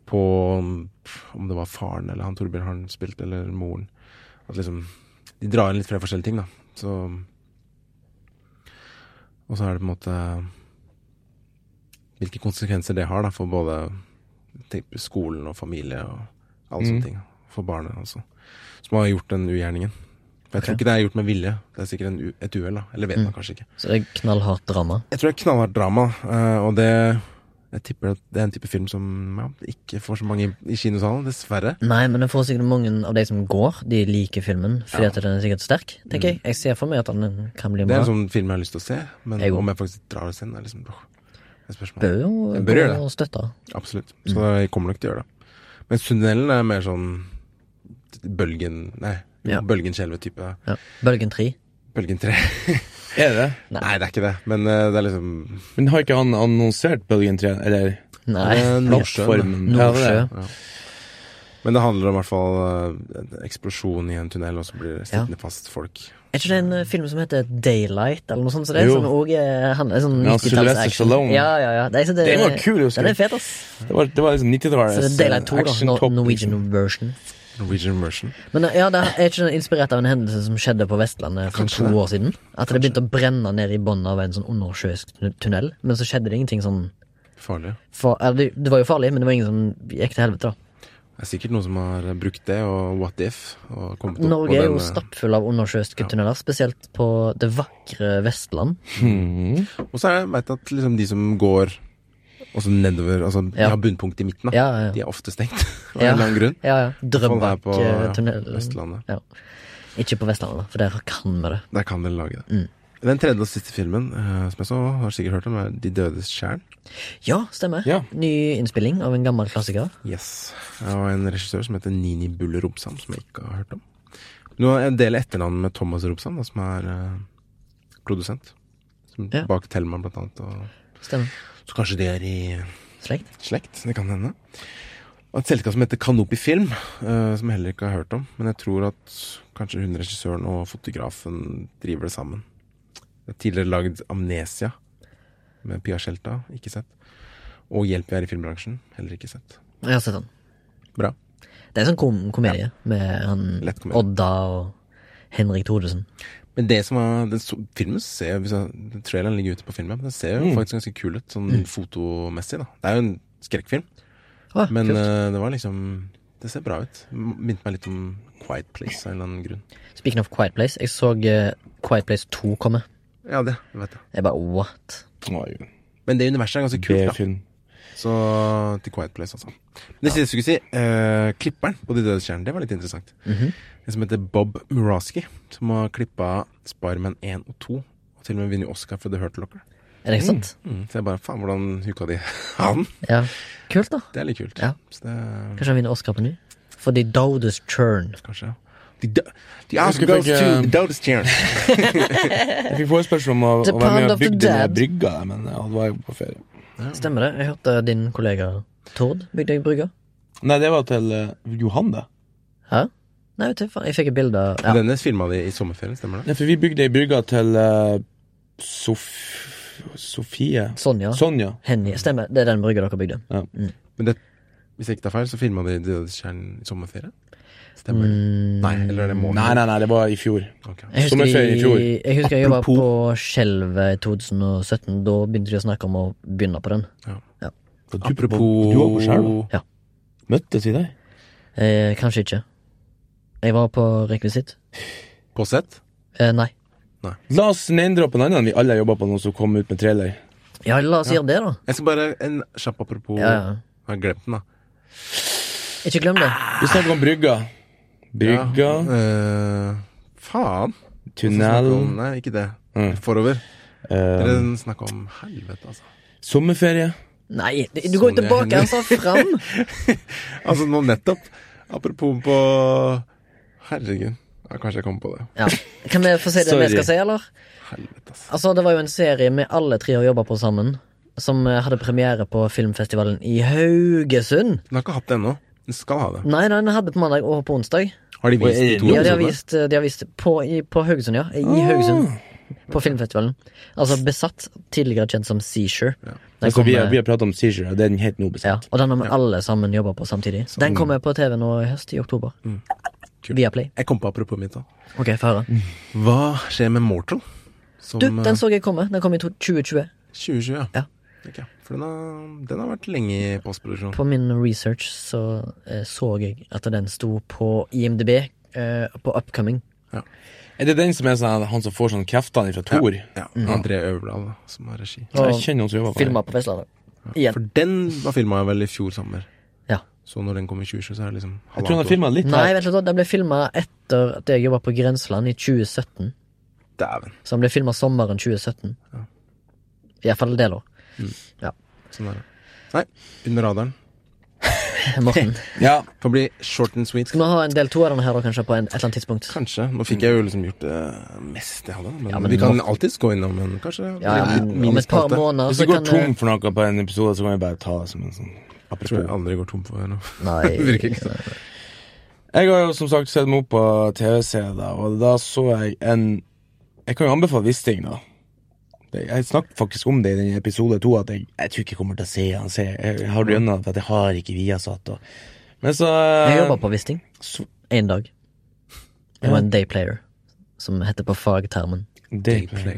[SPEAKER 2] På mm, om det var faren eller han Torbjørn Harn spilte, eller moren. At liksom De drar inn litt fra forskjellige ting, da. Så Og så er det på en måte hvilke konsekvenser det har da, for både tenk, skolen og familie og alle
[SPEAKER 1] Mm.
[SPEAKER 2] sånne ting. For barnet også. Som har gjort den ugjerningen. For jeg tror
[SPEAKER 1] Ok. Mm.
[SPEAKER 2] ikke det er gjort med vilje. Det er sikkert en, u- et uhell, da. Eller vet man kanskje ikke.
[SPEAKER 1] Så det er knallhardt drama.
[SPEAKER 2] Jeg tror det er knallhardt drama, eh, og det jeg tipper at det er en type film som ja, ikke får så mange i, i kinosalen, dessverre.
[SPEAKER 1] Nei, men jeg får sikkert mange av de som går, de liker filmen fordi at den er sikkert sterk, tenker
[SPEAKER 3] Mm.
[SPEAKER 1] jeg. Jeg ser for meg at den kan bli
[SPEAKER 2] Det er
[SPEAKER 1] bra.
[SPEAKER 2] en sånn film jeg har lyst til å se, men
[SPEAKER 1] Jeg går.
[SPEAKER 2] om jeg faktisk drar og ser den, er liksom åh, det er et spørsmål.
[SPEAKER 1] Bør jo
[SPEAKER 2] Den bør
[SPEAKER 1] gå
[SPEAKER 2] gjøre det.
[SPEAKER 1] og støtte.
[SPEAKER 2] Absolutt.
[SPEAKER 1] Mm.
[SPEAKER 2] Så jeg kommer nok til å gjøre det. Men tunnelen er mer sånn bølgen Nei,
[SPEAKER 1] Ja.
[SPEAKER 2] bølgen-skjelvet-type.
[SPEAKER 1] Ja. Bølgen 3.
[SPEAKER 2] Bølgen 3.
[SPEAKER 3] Er det det?
[SPEAKER 1] Nei.
[SPEAKER 2] Nei. det er ikke det. Men eh, det er liksom
[SPEAKER 3] Men har ikke han annonsert Bølgen 3, eller
[SPEAKER 1] Nei.
[SPEAKER 2] Eh, Nordsjøen.
[SPEAKER 3] plattformen? Ja, det
[SPEAKER 1] Nordsjø.
[SPEAKER 3] er det.
[SPEAKER 2] Men det handler om i hvert fall eh, en eksplosjon i en tunnel, og så blir det sittende fast folk.
[SPEAKER 1] Er ikke det en eh, film som heter Daylight, eller noe sånt? Så det er
[SPEAKER 3] Jo.
[SPEAKER 1] som også er, han, er sånn
[SPEAKER 3] Ja, Sylvester
[SPEAKER 1] 90-talls-action.
[SPEAKER 3] Stallone.
[SPEAKER 1] Ja, ja, ja. Det, er- så det,
[SPEAKER 3] Den var kul, husker
[SPEAKER 1] Den
[SPEAKER 3] jeg.
[SPEAKER 1] er fet, ass.
[SPEAKER 3] Det var, det var liksom
[SPEAKER 1] Så det
[SPEAKER 3] 90-tallets
[SPEAKER 1] er Daylight 2, da.
[SPEAKER 3] action-topp.
[SPEAKER 1] Nor- Norwegian version.
[SPEAKER 2] Norwegian version.
[SPEAKER 1] Men eh, ja, det er ikke det inspirert av en hendelse som skjedde på Vestlandet for
[SPEAKER 2] Kanskje
[SPEAKER 1] to
[SPEAKER 2] det.
[SPEAKER 1] år siden? At det begynte å brenne ned i bunnen av en sånn undersjøisk tun- tunnel, men så skjedde det ingenting sånn
[SPEAKER 2] Farlig.
[SPEAKER 1] fa- eller, det, det var jo farlig, men det var ingen som gikk til helvete, da.
[SPEAKER 2] Det er sikkert noen som har eh, brukt det, og what if, og kommet opp
[SPEAKER 1] Norge er jo
[SPEAKER 2] eh,
[SPEAKER 1] stappfull av undersjøiske tunneler, spesielt på det vakre Vestland.
[SPEAKER 2] Og så er det, veit at liksom de som går også nedover, altså de
[SPEAKER 1] Ja.
[SPEAKER 2] har bunnpunkt i midten, da.
[SPEAKER 1] Ja, ja, ja.
[SPEAKER 2] De er ofte stengt, av en
[SPEAKER 1] Ja.
[SPEAKER 2] eller annen grunn.
[SPEAKER 1] Ja, ja.
[SPEAKER 2] Sånn det er på ja,
[SPEAKER 1] Drøbak-tunnelen.
[SPEAKER 2] Østlandet.
[SPEAKER 1] Ja, Ikke på Vestlandet, da, for der kan vi det.
[SPEAKER 2] Der kan dere lage det.
[SPEAKER 1] Mm.
[SPEAKER 2] Den tredje og siste filmen eh, som jeg så, har sikkert hørt om, er De dødes skjern.
[SPEAKER 1] Ja, stemmer.
[SPEAKER 3] Ja.
[SPEAKER 1] Ny innspilling av en gammel klassiker.
[SPEAKER 2] Yes. Og en regissør som heter Nini Bulle Robsam, som jeg ikke har hørt om. Nå har jeg en del etternavn med Thomas Robsam, da, som er eh, produsent. Som
[SPEAKER 1] Ja.
[SPEAKER 2] Bak Thelma, blant annet. Og...
[SPEAKER 1] Stemmer.
[SPEAKER 2] Så kanskje de er i
[SPEAKER 1] Slekt.
[SPEAKER 2] slekt. Det kan hende. Og et selskap som heter Kanopi Film, eh, som jeg heller ikke har hørt om. Men jeg tror at kanskje hun regissøren og fotografen driver det sammen. Jeg har tidligere lagd Amnesia med Pia Skjelta, ikke sett. Og Hjelp vi er i filmbransjen, heller ikke sett.
[SPEAKER 1] Jeg har sett den.
[SPEAKER 2] Bra.
[SPEAKER 1] Det er en sånn kom komedie med han
[SPEAKER 2] Lett komedie.
[SPEAKER 1] Odda og Henrik Thodesen.
[SPEAKER 2] Men det som er, den, så- filmen ser jo hvis jeg- den Traileren ligger ute på filmen, men den ser jo faktisk ganske kul ut, sånn fotomessig. da Det er jo en skrekkfilm,
[SPEAKER 1] Å,
[SPEAKER 2] men
[SPEAKER 1] kult.
[SPEAKER 2] eh, det var liksom Det ser bra ut. M- Minte meg litt om Quiet Place av en eller annen grunn.
[SPEAKER 1] Speaking of Quiet Place, jeg så eh, Quiet Place 2 komme.
[SPEAKER 2] Ja, det vet jeg.
[SPEAKER 1] Jeg bare what?
[SPEAKER 3] Oi,
[SPEAKER 2] Men det universet er ganske kult, da.
[SPEAKER 3] B-film.
[SPEAKER 2] Så til Quiet Place, altså. Men det siste jeg skulle si, eh, klipperen på De døde stjernene, det var litt interessant. En som heter Bob Muraski, som har klippa Spiderman 1 og 2, og til og med vunnet Oscar for The Hurt Locker.
[SPEAKER 1] Er det ikke sant?
[SPEAKER 2] Mm. Så jeg bare faen, hvordan huka de han?
[SPEAKER 1] Ja. Kult, da.
[SPEAKER 2] Det er litt kult.
[SPEAKER 1] Ja.
[SPEAKER 2] Så det
[SPEAKER 1] Kanskje han vinner Oscar på ny? For The Dodes Churn.
[SPEAKER 2] Kanskje. The, do- the Oscar
[SPEAKER 3] husker
[SPEAKER 2] goes
[SPEAKER 3] begge-
[SPEAKER 2] to the Dodes Chairs.
[SPEAKER 3] Jeg fikk forespørsel om å,
[SPEAKER 1] The
[SPEAKER 3] å være med
[SPEAKER 1] Pound
[SPEAKER 3] og
[SPEAKER 1] of the
[SPEAKER 3] bygge denne
[SPEAKER 1] Dead.
[SPEAKER 3] brygga, men ja, da var jeg på ferie.
[SPEAKER 1] Stemmer det? Jeg hørte din kollega Tord bygde ei brygge.
[SPEAKER 3] Nei, det var til eh, Johan, det.
[SPEAKER 1] Hæ? Nei, vet du faen. Jeg fikk et bilde av ja.
[SPEAKER 2] Denne filma de i sommerferien, stemmer det?
[SPEAKER 3] Nei, for vi bygde ei brygge til eh, Sof... Sofie
[SPEAKER 1] Sonja.
[SPEAKER 3] Sonja.
[SPEAKER 1] Henny. Stemmer. Det er den brygga dere bygde.
[SPEAKER 2] Men det, hvis jeg ikke tar feil, så filma de Dodes Chairs i sommerferie? Stemmer det?
[SPEAKER 1] Mm.
[SPEAKER 2] Nei, eller er det måned?
[SPEAKER 3] Nei, nei, nei, det var i fjor.
[SPEAKER 2] Ok.
[SPEAKER 1] Jeg husker,
[SPEAKER 3] Sommerferie i fjor.
[SPEAKER 1] jeg, jeg husker jeg jobba
[SPEAKER 3] Apropos-
[SPEAKER 1] på Skjelvet i 2017. Da begynte de å snakke om å begynne på den.
[SPEAKER 3] Du-
[SPEAKER 2] Apropos
[SPEAKER 3] Du var på skjermen.
[SPEAKER 1] Ja.
[SPEAKER 3] Møttes vi der?
[SPEAKER 1] Eh, kanskje ikke. Jeg var på rekvisitt.
[SPEAKER 2] På sett?
[SPEAKER 1] Eh, nei.
[SPEAKER 3] La oss name-droppe en annen vi alle har jobba på nå som kom ut med trailer.
[SPEAKER 1] Ja, la oss gjøre det,
[SPEAKER 3] Oh.
[SPEAKER 1] da.
[SPEAKER 2] Jeg skal bare en kjapp apropos
[SPEAKER 1] Ja, ja.
[SPEAKER 2] Jeg har glemt den, da.
[SPEAKER 1] Ikke glem det.
[SPEAKER 3] Vi snakker om brygga. Brygga,
[SPEAKER 2] Eh, faen.
[SPEAKER 3] tunnelen
[SPEAKER 2] Nei, ikke det.
[SPEAKER 3] Mm.
[SPEAKER 2] Forover.
[SPEAKER 3] eh,
[SPEAKER 2] Dere snakka om helvete, altså.
[SPEAKER 3] Sommerferie.
[SPEAKER 1] Nei, du går jo
[SPEAKER 2] Sånn
[SPEAKER 1] tilbake
[SPEAKER 2] jeg-
[SPEAKER 1] han sa fram!
[SPEAKER 2] Altså nå nettopp. Apropos på Herregud. Ja, kanskje jeg kom på det.
[SPEAKER 1] Ja. Kan vi få si det
[SPEAKER 3] Sorry.
[SPEAKER 1] vi skal si, eller?
[SPEAKER 2] Helvete, ass.
[SPEAKER 1] Altså, det var jo en serie vi alle tre har jobba på sammen, som eh, hadde premiere på filmfestivalen i Haugesund.
[SPEAKER 2] Den har ikke hatt det ennå. Den skal ha det.
[SPEAKER 1] Nei, nei, den hadde på mandag og på onsdag.
[SPEAKER 2] Har de vist
[SPEAKER 3] Oi,
[SPEAKER 2] de to
[SPEAKER 1] Ja, de har
[SPEAKER 2] episodene?
[SPEAKER 1] vist, eh, de har vist på, i, på Haugesund, ja. I Haugesund. På filmfestivalen. Altså Besatt, tidligere kjent som Seizure. Den
[SPEAKER 3] Altså,
[SPEAKER 1] kom,
[SPEAKER 3] vi, har, vi
[SPEAKER 1] eh,
[SPEAKER 3] har pratet om Seizure, og det er den helt nå
[SPEAKER 1] ja,
[SPEAKER 3] bestemt.
[SPEAKER 1] og den har vi alle sammen jobba på samtidig. Den kommer på TV nå i høst, i oktober.
[SPEAKER 2] Kult.
[SPEAKER 1] Via Play.
[SPEAKER 2] Jeg kom på apropos mitt òg.
[SPEAKER 1] Ok, få høre.
[SPEAKER 2] Hva skjer med Mortal? Som
[SPEAKER 1] Du,
[SPEAKER 2] eh,
[SPEAKER 1] den så jeg komme. Den kom i to- 2020.
[SPEAKER 2] 2020, ja.
[SPEAKER 1] Ja.
[SPEAKER 2] Ok, For den har, den har vært lenge i postproduksjon.
[SPEAKER 1] På min research så eh, så jeg at den sto på IMDb eh, på Upcoming.
[SPEAKER 3] Er det den som er sånn, han som får sånn kreftene fra Thor?
[SPEAKER 2] Ja,
[SPEAKER 1] Mm.
[SPEAKER 2] André Øverblad, da, som har regi.
[SPEAKER 1] Og
[SPEAKER 3] Jeg kjenner noen som jobber på
[SPEAKER 1] filma
[SPEAKER 3] det.
[SPEAKER 1] på Vestlandet. Igjen.
[SPEAKER 2] For den var filma vel i fjor sommer.
[SPEAKER 1] Ja.
[SPEAKER 2] Så når den kom i 2020, så er det liksom
[SPEAKER 3] Jeg tror han
[SPEAKER 2] halvannet
[SPEAKER 3] har filmet litt
[SPEAKER 1] Nei,
[SPEAKER 3] her.
[SPEAKER 1] vet du hva, den ble filma etter at jeg jobba på Grenseland i 2017.
[SPEAKER 2] år. Dæven.
[SPEAKER 1] Så den ble filma sommeren 2017. Iallfall det, da.
[SPEAKER 2] Sånn er det. Nei, under radaren.
[SPEAKER 1] Morten.
[SPEAKER 3] Ja,
[SPEAKER 2] Får bli short and sweet.
[SPEAKER 1] Skal vi ha en del to av denne her, da, kanskje, på en, et eller annet tidspunkt?
[SPEAKER 2] Kanskje. Nå fikk jeg jo liksom gjort det meste jeg hadde, men,
[SPEAKER 1] Ja, men
[SPEAKER 2] vi kan
[SPEAKER 1] nå-
[SPEAKER 2] alltids gå innom en kanskje.
[SPEAKER 1] Ja, ja,
[SPEAKER 2] en
[SPEAKER 1] men om et par
[SPEAKER 2] minispalte.
[SPEAKER 1] måneder
[SPEAKER 3] Hvis
[SPEAKER 1] så
[SPEAKER 3] du går
[SPEAKER 1] kan eh,
[SPEAKER 3] tom for noe på en episode, så kan vi bare ta det som en sånn
[SPEAKER 2] Jeg tror jeg
[SPEAKER 3] apropos.
[SPEAKER 2] aldri går tom for noe.
[SPEAKER 1] Nei.
[SPEAKER 2] Det virker ikke sånn.
[SPEAKER 3] Jeg har jo som sagt sett meg opp på TV-serier, og da så jeg en Jeg kan jo anbefale visse ting, da. Det- Jeg snakket faktisk om det i den episode to, at jeg, jeg tror ikke jeg kommer til å se han. Se. Jeg har rønna for at jeg har ikke Viasat. Og. Men så
[SPEAKER 1] Jeg jobba på Wisting
[SPEAKER 3] så-
[SPEAKER 1] én dag. Jeg var en dayplayer, som heter på fagtermen.
[SPEAKER 3] Dayplay.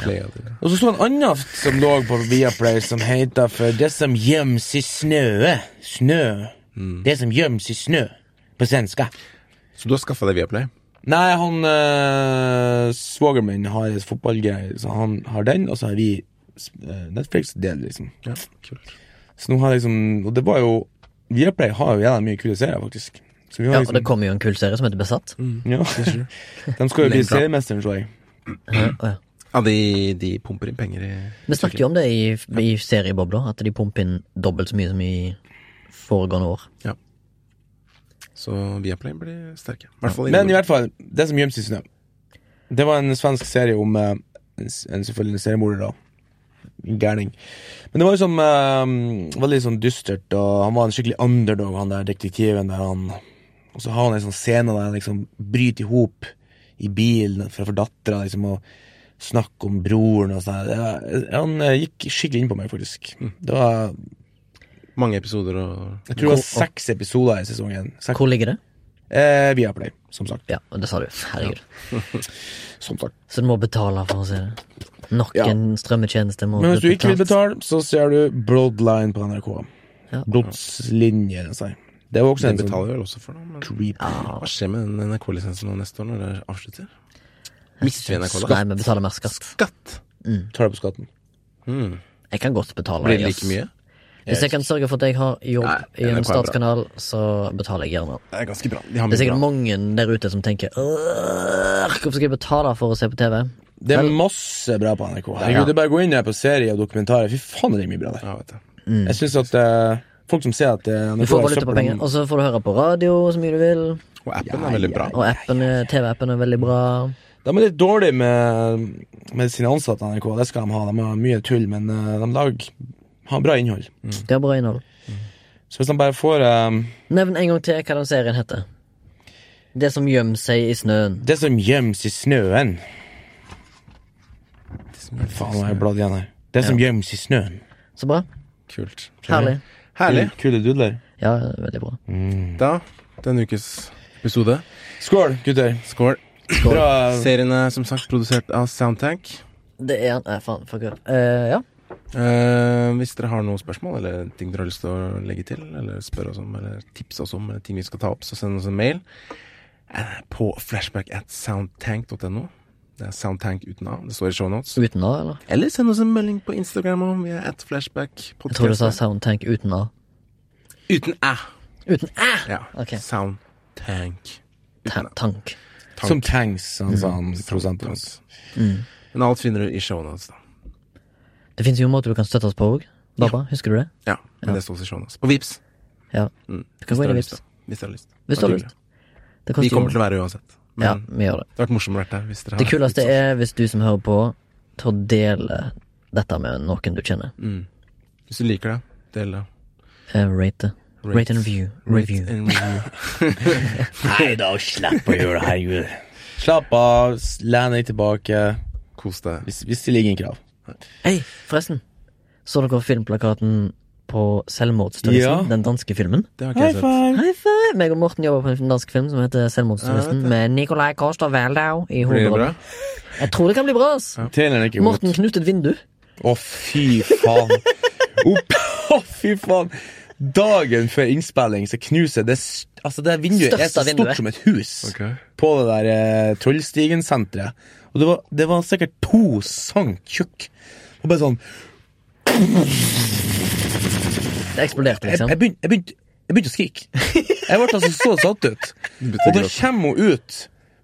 [SPEAKER 2] Play av det.
[SPEAKER 3] Og så så en annen som lå på Viaplay, som heter For det som gjemmes i snøet. Snø.
[SPEAKER 1] Mm.
[SPEAKER 3] Det som gjemmes i snø. På svenska.
[SPEAKER 2] Så du har skaffa deg Viaplay?
[SPEAKER 3] Nei, han øh, svogeren min har et fotballgreie, så han har den, og så har vi øh, Netflix-del, liksom.
[SPEAKER 2] Ja, kult.
[SPEAKER 3] Så nå har jeg liksom Og det var jo Viaplay har jo jævla mye kule serier, faktisk. Så vi har
[SPEAKER 1] Ja, og
[SPEAKER 3] liksom
[SPEAKER 1] det kommer jo en kul serie som heter Besatt.
[SPEAKER 3] ja. De skal jo
[SPEAKER 2] Name
[SPEAKER 3] bli
[SPEAKER 2] drop.
[SPEAKER 3] seriemesteren, tror jeg.
[SPEAKER 1] Hæ? Å, ja.
[SPEAKER 2] Ja, de, de pumper inn penger i
[SPEAKER 1] Vi snakket jo om det i, i seriebobla, at de pumper inn dobbelt så mye som i foregående år.
[SPEAKER 2] Så Viaplay blir sterke. I hvert fall i
[SPEAKER 3] Men i
[SPEAKER 2] Norden.
[SPEAKER 3] hvert fall, det som gjemmes i snø. Det var en svensk serie om eh, en, s- en selvfølgelig en seriemorder, da. En Gærning. Men det var liksom eh, veldig sånn dystert, og han var en skikkelig underdog, han der detektiven der han Og så har han en sånn scene der han liksom bryter i hop i bilen for å få dattera, liksom, og snakke om broren og sånn. Det var- Han eh, gikk skikkelig inn på meg, faktisk. Det var,
[SPEAKER 2] mange episoder og
[SPEAKER 3] jeg tror det var seks episoder i sesongen. Seks,
[SPEAKER 1] Hvor ligger det?
[SPEAKER 3] eh, via Play, som sagt.
[SPEAKER 1] Ja, det sa du. Herregud.
[SPEAKER 3] Som sagt.
[SPEAKER 1] Så du må betale for å se det. Nok
[SPEAKER 3] Ja.
[SPEAKER 1] en strømmetjeneste må
[SPEAKER 3] Men hvis du
[SPEAKER 1] bli
[SPEAKER 3] ikke vil
[SPEAKER 1] betalt.
[SPEAKER 3] betale, så ser du Bloodline på NRK.
[SPEAKER 1] Ja.
[SPEAKER 3] Blodslinjer, sier Det var også
[SPEAKER 2] Den
[SPEAKER 3] en sånn
[SPEAKER 2] betaler vel også for noe, men
[SPEAKER 3] creep.
[SPEAKER 2] hva skjer med den NRK-lisensen nå neste år når det avslutter? Mister vi NRK da?
[SPEAKER 1] Nei, vi betaler mer skatt.
[SPEAKER 2] Skatt!
[SPEAKER 3] Tar det på skatten.
[SPEAKER 2] Hmm.
[SPEAKER 1] Jeg kan godt betale.
[SPEAKER 2] Blir det
[SPEAKER 1] jeg, ass.
[SPEAKER 2] like mye?
[SPEAKER 1] Hvis jeg kan sørge for at jeg har jobb
[SPEAKER 2] Nei,
[SPEAKER 1] i en
[SPEAKER 2] NRK er bra.
[SPEAKER 1] statskanal, så betaler jeg gjerne.
[SPEAKER 2] Det er ganske bra. De har
[SPEAKER 1] Det er
[SPEAKER 2] mye
[SPEAKER 1] sikkert
[SPEAKER 2] bra.
[SPEAKER 1] mange der ute som tenker «Åh, Hvorfor skal jeg betale for å se på TV?
[SPEAKER 3] Det er masse bra på NRK. Herregud,
[SPEAKER 1] Ja.
[SPEAKER 3] det er bare å gå inn der på serie og dokumentarer. Fy faen, det er mye bra der.
[SPEAKER 2] Ja, vet du.
[SPEAKER 3] Jeg synes at eh, folk som ser at
[SPEAKER 1] Du
[SPEAKER 3] eh,
[SPEAKER 1] Mm.
[SPEAKER 3] NRK
[SPEAKER 1] får
[SPEAKER 3] har
[SPEAKER 1] valuta på
[SPEAKER 3] søppel-
[SPEAKER 1] penger, og så får du høre på radio så mye du vil.
[SPEAKER 2] Og appen er veldig bra.
[SPEAKER 1] Og appen, er- TV-appen er veldig bra.
[SPEAKER 3] De er litt dårlige med, med sine ansatte i NRK. Det skal de ha. De har mye tull, men eh, de lager har bra innhold.
[SPEAKER 1] Det er bra innhold.
[SPEAKER 3] Så hvis de bare får eh,
[SPEAKER 1] Nevn en gang til hva den serien heter. Det som gjemmer seg i snøen.
[SPEAKER 3] det som gjemmes i snøen Faen, nå har jeg bladd igjen her. Det som gjemmes i snøen.
[SPEAKER 1] Så bra.
[SPEAKER 2] Kult.
[SPEAKER 1] Herlig.
[SPEAKER 2] Herlig.
[SPEAKER 3] Kule dudler.
[SPEAKER 1] Ja, veldig bra.
[SPEAKER 2] Da, denne ukes episode.
[SPEAKER 3] Skål, gutter.
[SPEAKER 2] Skål.
[SPEAKER 3] Bra.
[SPEAKER 2] Serien er som sagt produsert av Soundtank.
[SPEAKER 1] Det er han. Nei, faen. Fuck up. Eh, ja.
[SPEAKER 2] Eh, hvis dere har noen spørsmål eller ting dere har lyst til å legge til, eller spørre oss om, eller tipse oss om eller ting vi skal ta opp, så send oss en mail eh, på flashback at soundtank.no. Det er Soundtank uten A. Det står i shownotes.
[SPEAKER 1] Uten A, eller?
[SPEAKER 2] Eller send oss en melding på Instagram om vi er at flashback.
[SPEAKER 1] Jeg tror du sa Soundtank uten A.
[SPEAKER 2] Uten æ.
[SPEAKER 1] Uten Æ!
[SPEAKER 2] Ja.
[SPEAKER 1] Ok.
[SPEAKER 2] Soundtank.
[SPEAKER 1] Ta- Tank.
[SPEAKER 2] Tank.
[SPEAKER 3] Som tanks, han
[SPEAKER 1] Liksom.
[SPEAKER 3] sa han prosenten hans.
[SPEAKER 1] Mm.
[SPEAKER 2] Men alt finner du i shownotes, da.
[SPEAKER 1] Det fins jo en måte du kan støtte oss på òg. Baba, husker du det?
[SPEAKER 2] Ja, men det står i showet. På Vips.
[SPEAKER 1] Ja.
[SPEAKER 2] Mm.
[SPEAKER 1] Du kan gå inn i Vipps.
[SPEAKER 2] Hvis dere har lyst.
[SPEAKER 1] Hvis du har lyst. Det koster
[SPEAKER 2] Vi kommer
[SPEAKER 1] jo-
[SPEAKER 2] til å være uansett. Men
[SPEAKER 1] Ja, vi gjør det.
[SPEAKER 2] det har vært morsomt å være der. Hvis dere har
[SPEAKER 1] Det kuleste
[SPEAKER 2] Vipps.
[SPEAKER 1] er hvis du som hører på, tar og deler dette med noen du kjenner.
[SPEAKER 2] Mm. Hvis du liker det, del det.
[SPEAKER 1] Eh, rate det. Rate,
[SPEAKER 2] Rate.
[SPEAKER 1] and review.
[SPEAKER 2] Rate
[SPEAKER 1] review.
[SPEAKER 2] and review.
[SPEAKER 3] Nei da, slapp å gjøre det, herregud. Slapp av, s- len deg tilbake,
[SPEAKER 2] Kos deg.
[SPEAKER 3] hvis, hvis det ligger en krav.
[SPEAKER 1] Hei, forresten. Så dere filmplakaten på Selvmordsturisten?
[SPEAKER 3] Ja.
[SPEAKER 1] Den danske filmen?
[SPEAKER 2] Det har ikke jeg sett.
[SPEAKER 1] High five! Meg og Morten jobber på en dansk film som heter
[SPEAKER 2] Ja, jeg
[SPEAKER 1] Selvmordsturisten,
[SPEAKER 2] vet det.
[SPEAKER 1] med Nicolai Kårstad Wældau i
[SPEAKER 2] Blir det bra?
[SPEAKER 1] hovedrollen. Jeg tror det kan bli bra, ass!
[SPEAKER 3] Traileren er ikke god.
[SPEAKER 1] Morten knuste et vindu.
[SPEAKER 3] Å, fy faen. Opp. Å, fy faen. Dagen før innspilling så knuser det s- Altså, det vinduet er så
[SPEAKER 1] Største vinduet.
[SPEAKER 3] stort som et hus
[SPEAKER 2] Ok.
[SPEAKER 3] på det der eh, Trollstigen-senteret. Og det var, det var sikkert to sank tjukk. Og bare sånn
[SPEAKER 1] Det eksploderte,
[SPEAKER 3] Jeg,
[SPEAKER 1] liksom.
[SPEAKER 3] jeg, begynte, jeg, begynte, jeg begynte å skrike. Jeg ble altså så satt ut. Og da kommer hun ut,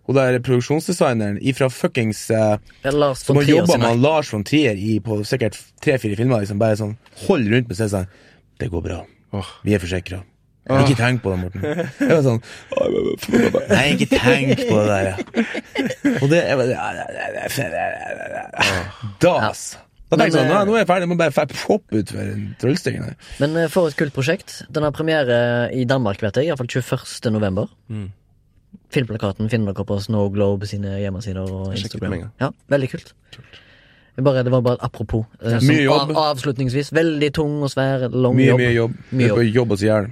[SPEAKER 3] hun der produksjonsdesigneren ifra fuckings eh,
[SPEAKER 1] Lars
[SPEAKER 3] Som
[SPEAKER 1] von
[SPEAKER 3] har
[SPEAKER 1] Trier
[SPEAKER 3] jobba
[SPEAKER 1] sin
[SPEAKER 3] med Lars von Trier i på sikkert tre-fire filmer. liksom Bare sånn, Hold rundt med seg sånn Det går bra.
[SPEAKER 2] Åh.
[SPEAKER 3] Vi er forsikra.
[SPEAKER 1] Ah.
[SPEAKER 3] Ikke tenk på det, Morten. Jeg var sånn Nei, ikke tenk på det der. ja. Og det jeg var, Da, ass. Da
[SPEAKER 1] Ah. Men,
[SPEAKER 3] tenkte jeg sånn,
[SPEAKER 1] eh,
[SPEAKER 3] «Nei, Nå er jeg ferdig, jeg må bare fe- poppe ut for Trollstigen. her.
[SPEAKER 1] Men eh, for et kult prosjekt. Den har premiere eh, i Danmark, vet jeg. Iallfall 21. november. Filmplakaten finner dere på Snow Globe sine hjemmesider og
[SPEAKER 2] Jeg sjekker ut med en
[SPEAKER 1] Instagram.
[SPEAKER 2] gang.
[SPEAKER 1] Ja, veldig kult. Bare, det var bare et apropos. eh, som
[SPEAKER 3] Mye jobb.
[SPEAKER 1] Av, avslutningsvis. Veldig tung og svær. Lang
[SPEAKER 3] Mye,
[SPEAKER 1] jobb.
[SPEAKER 3] mye jobb.
[SPEAKER 1] Mye
[SPEAKER 3] Jeg
[SPEAKER 1] jobb.
[SPEAKER 3] på jobb og så jævlig.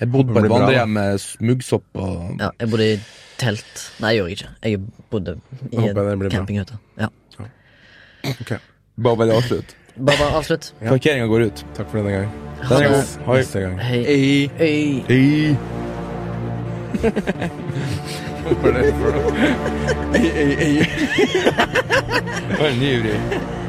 [SPEAKER 3] Jeg bodde på
[SPEAKER 2] Det
[SPEAKER 3] et
[SPEAKER 2] blir bra, da.
[SPEAKER 3] vandrehjem med muggsopp og
[SPEAKER 1] Ja, jeg bodde i telt. Nei, jeg gjorde ikke. Jeg bodde i
[SPEAKER 2] håper det
[SPEAKER 1] en
[SPEAKER 2] blir bra.
[SPEAKER 1] campinghytte. Ja.
[SPEAKER 2] Ok.
[SPEAKER 3] Bare bare avslutt.
[SPEAKER 1] Bare, bare avslutt.
[SPEAKER 3] Parkeringa går ut.
[SPEAKER 2] Takk for denne gang.
[SPEAKER 1] Ha
[SPEAKER 3] Den er
[SPEAKER 1] det.
[SPEAKER 3] god. Hoi.
[SPEAKER 2] Neste gang.
[SPEAKER 1] Hei.
[SPEAKER 3] Hei.
[SPEAKER 1] Hei.
[SPEAKER 3] Hei.
[SPEAKER 2] Hvorfor det?
[SPEAKER 3] Hei, hei, hei.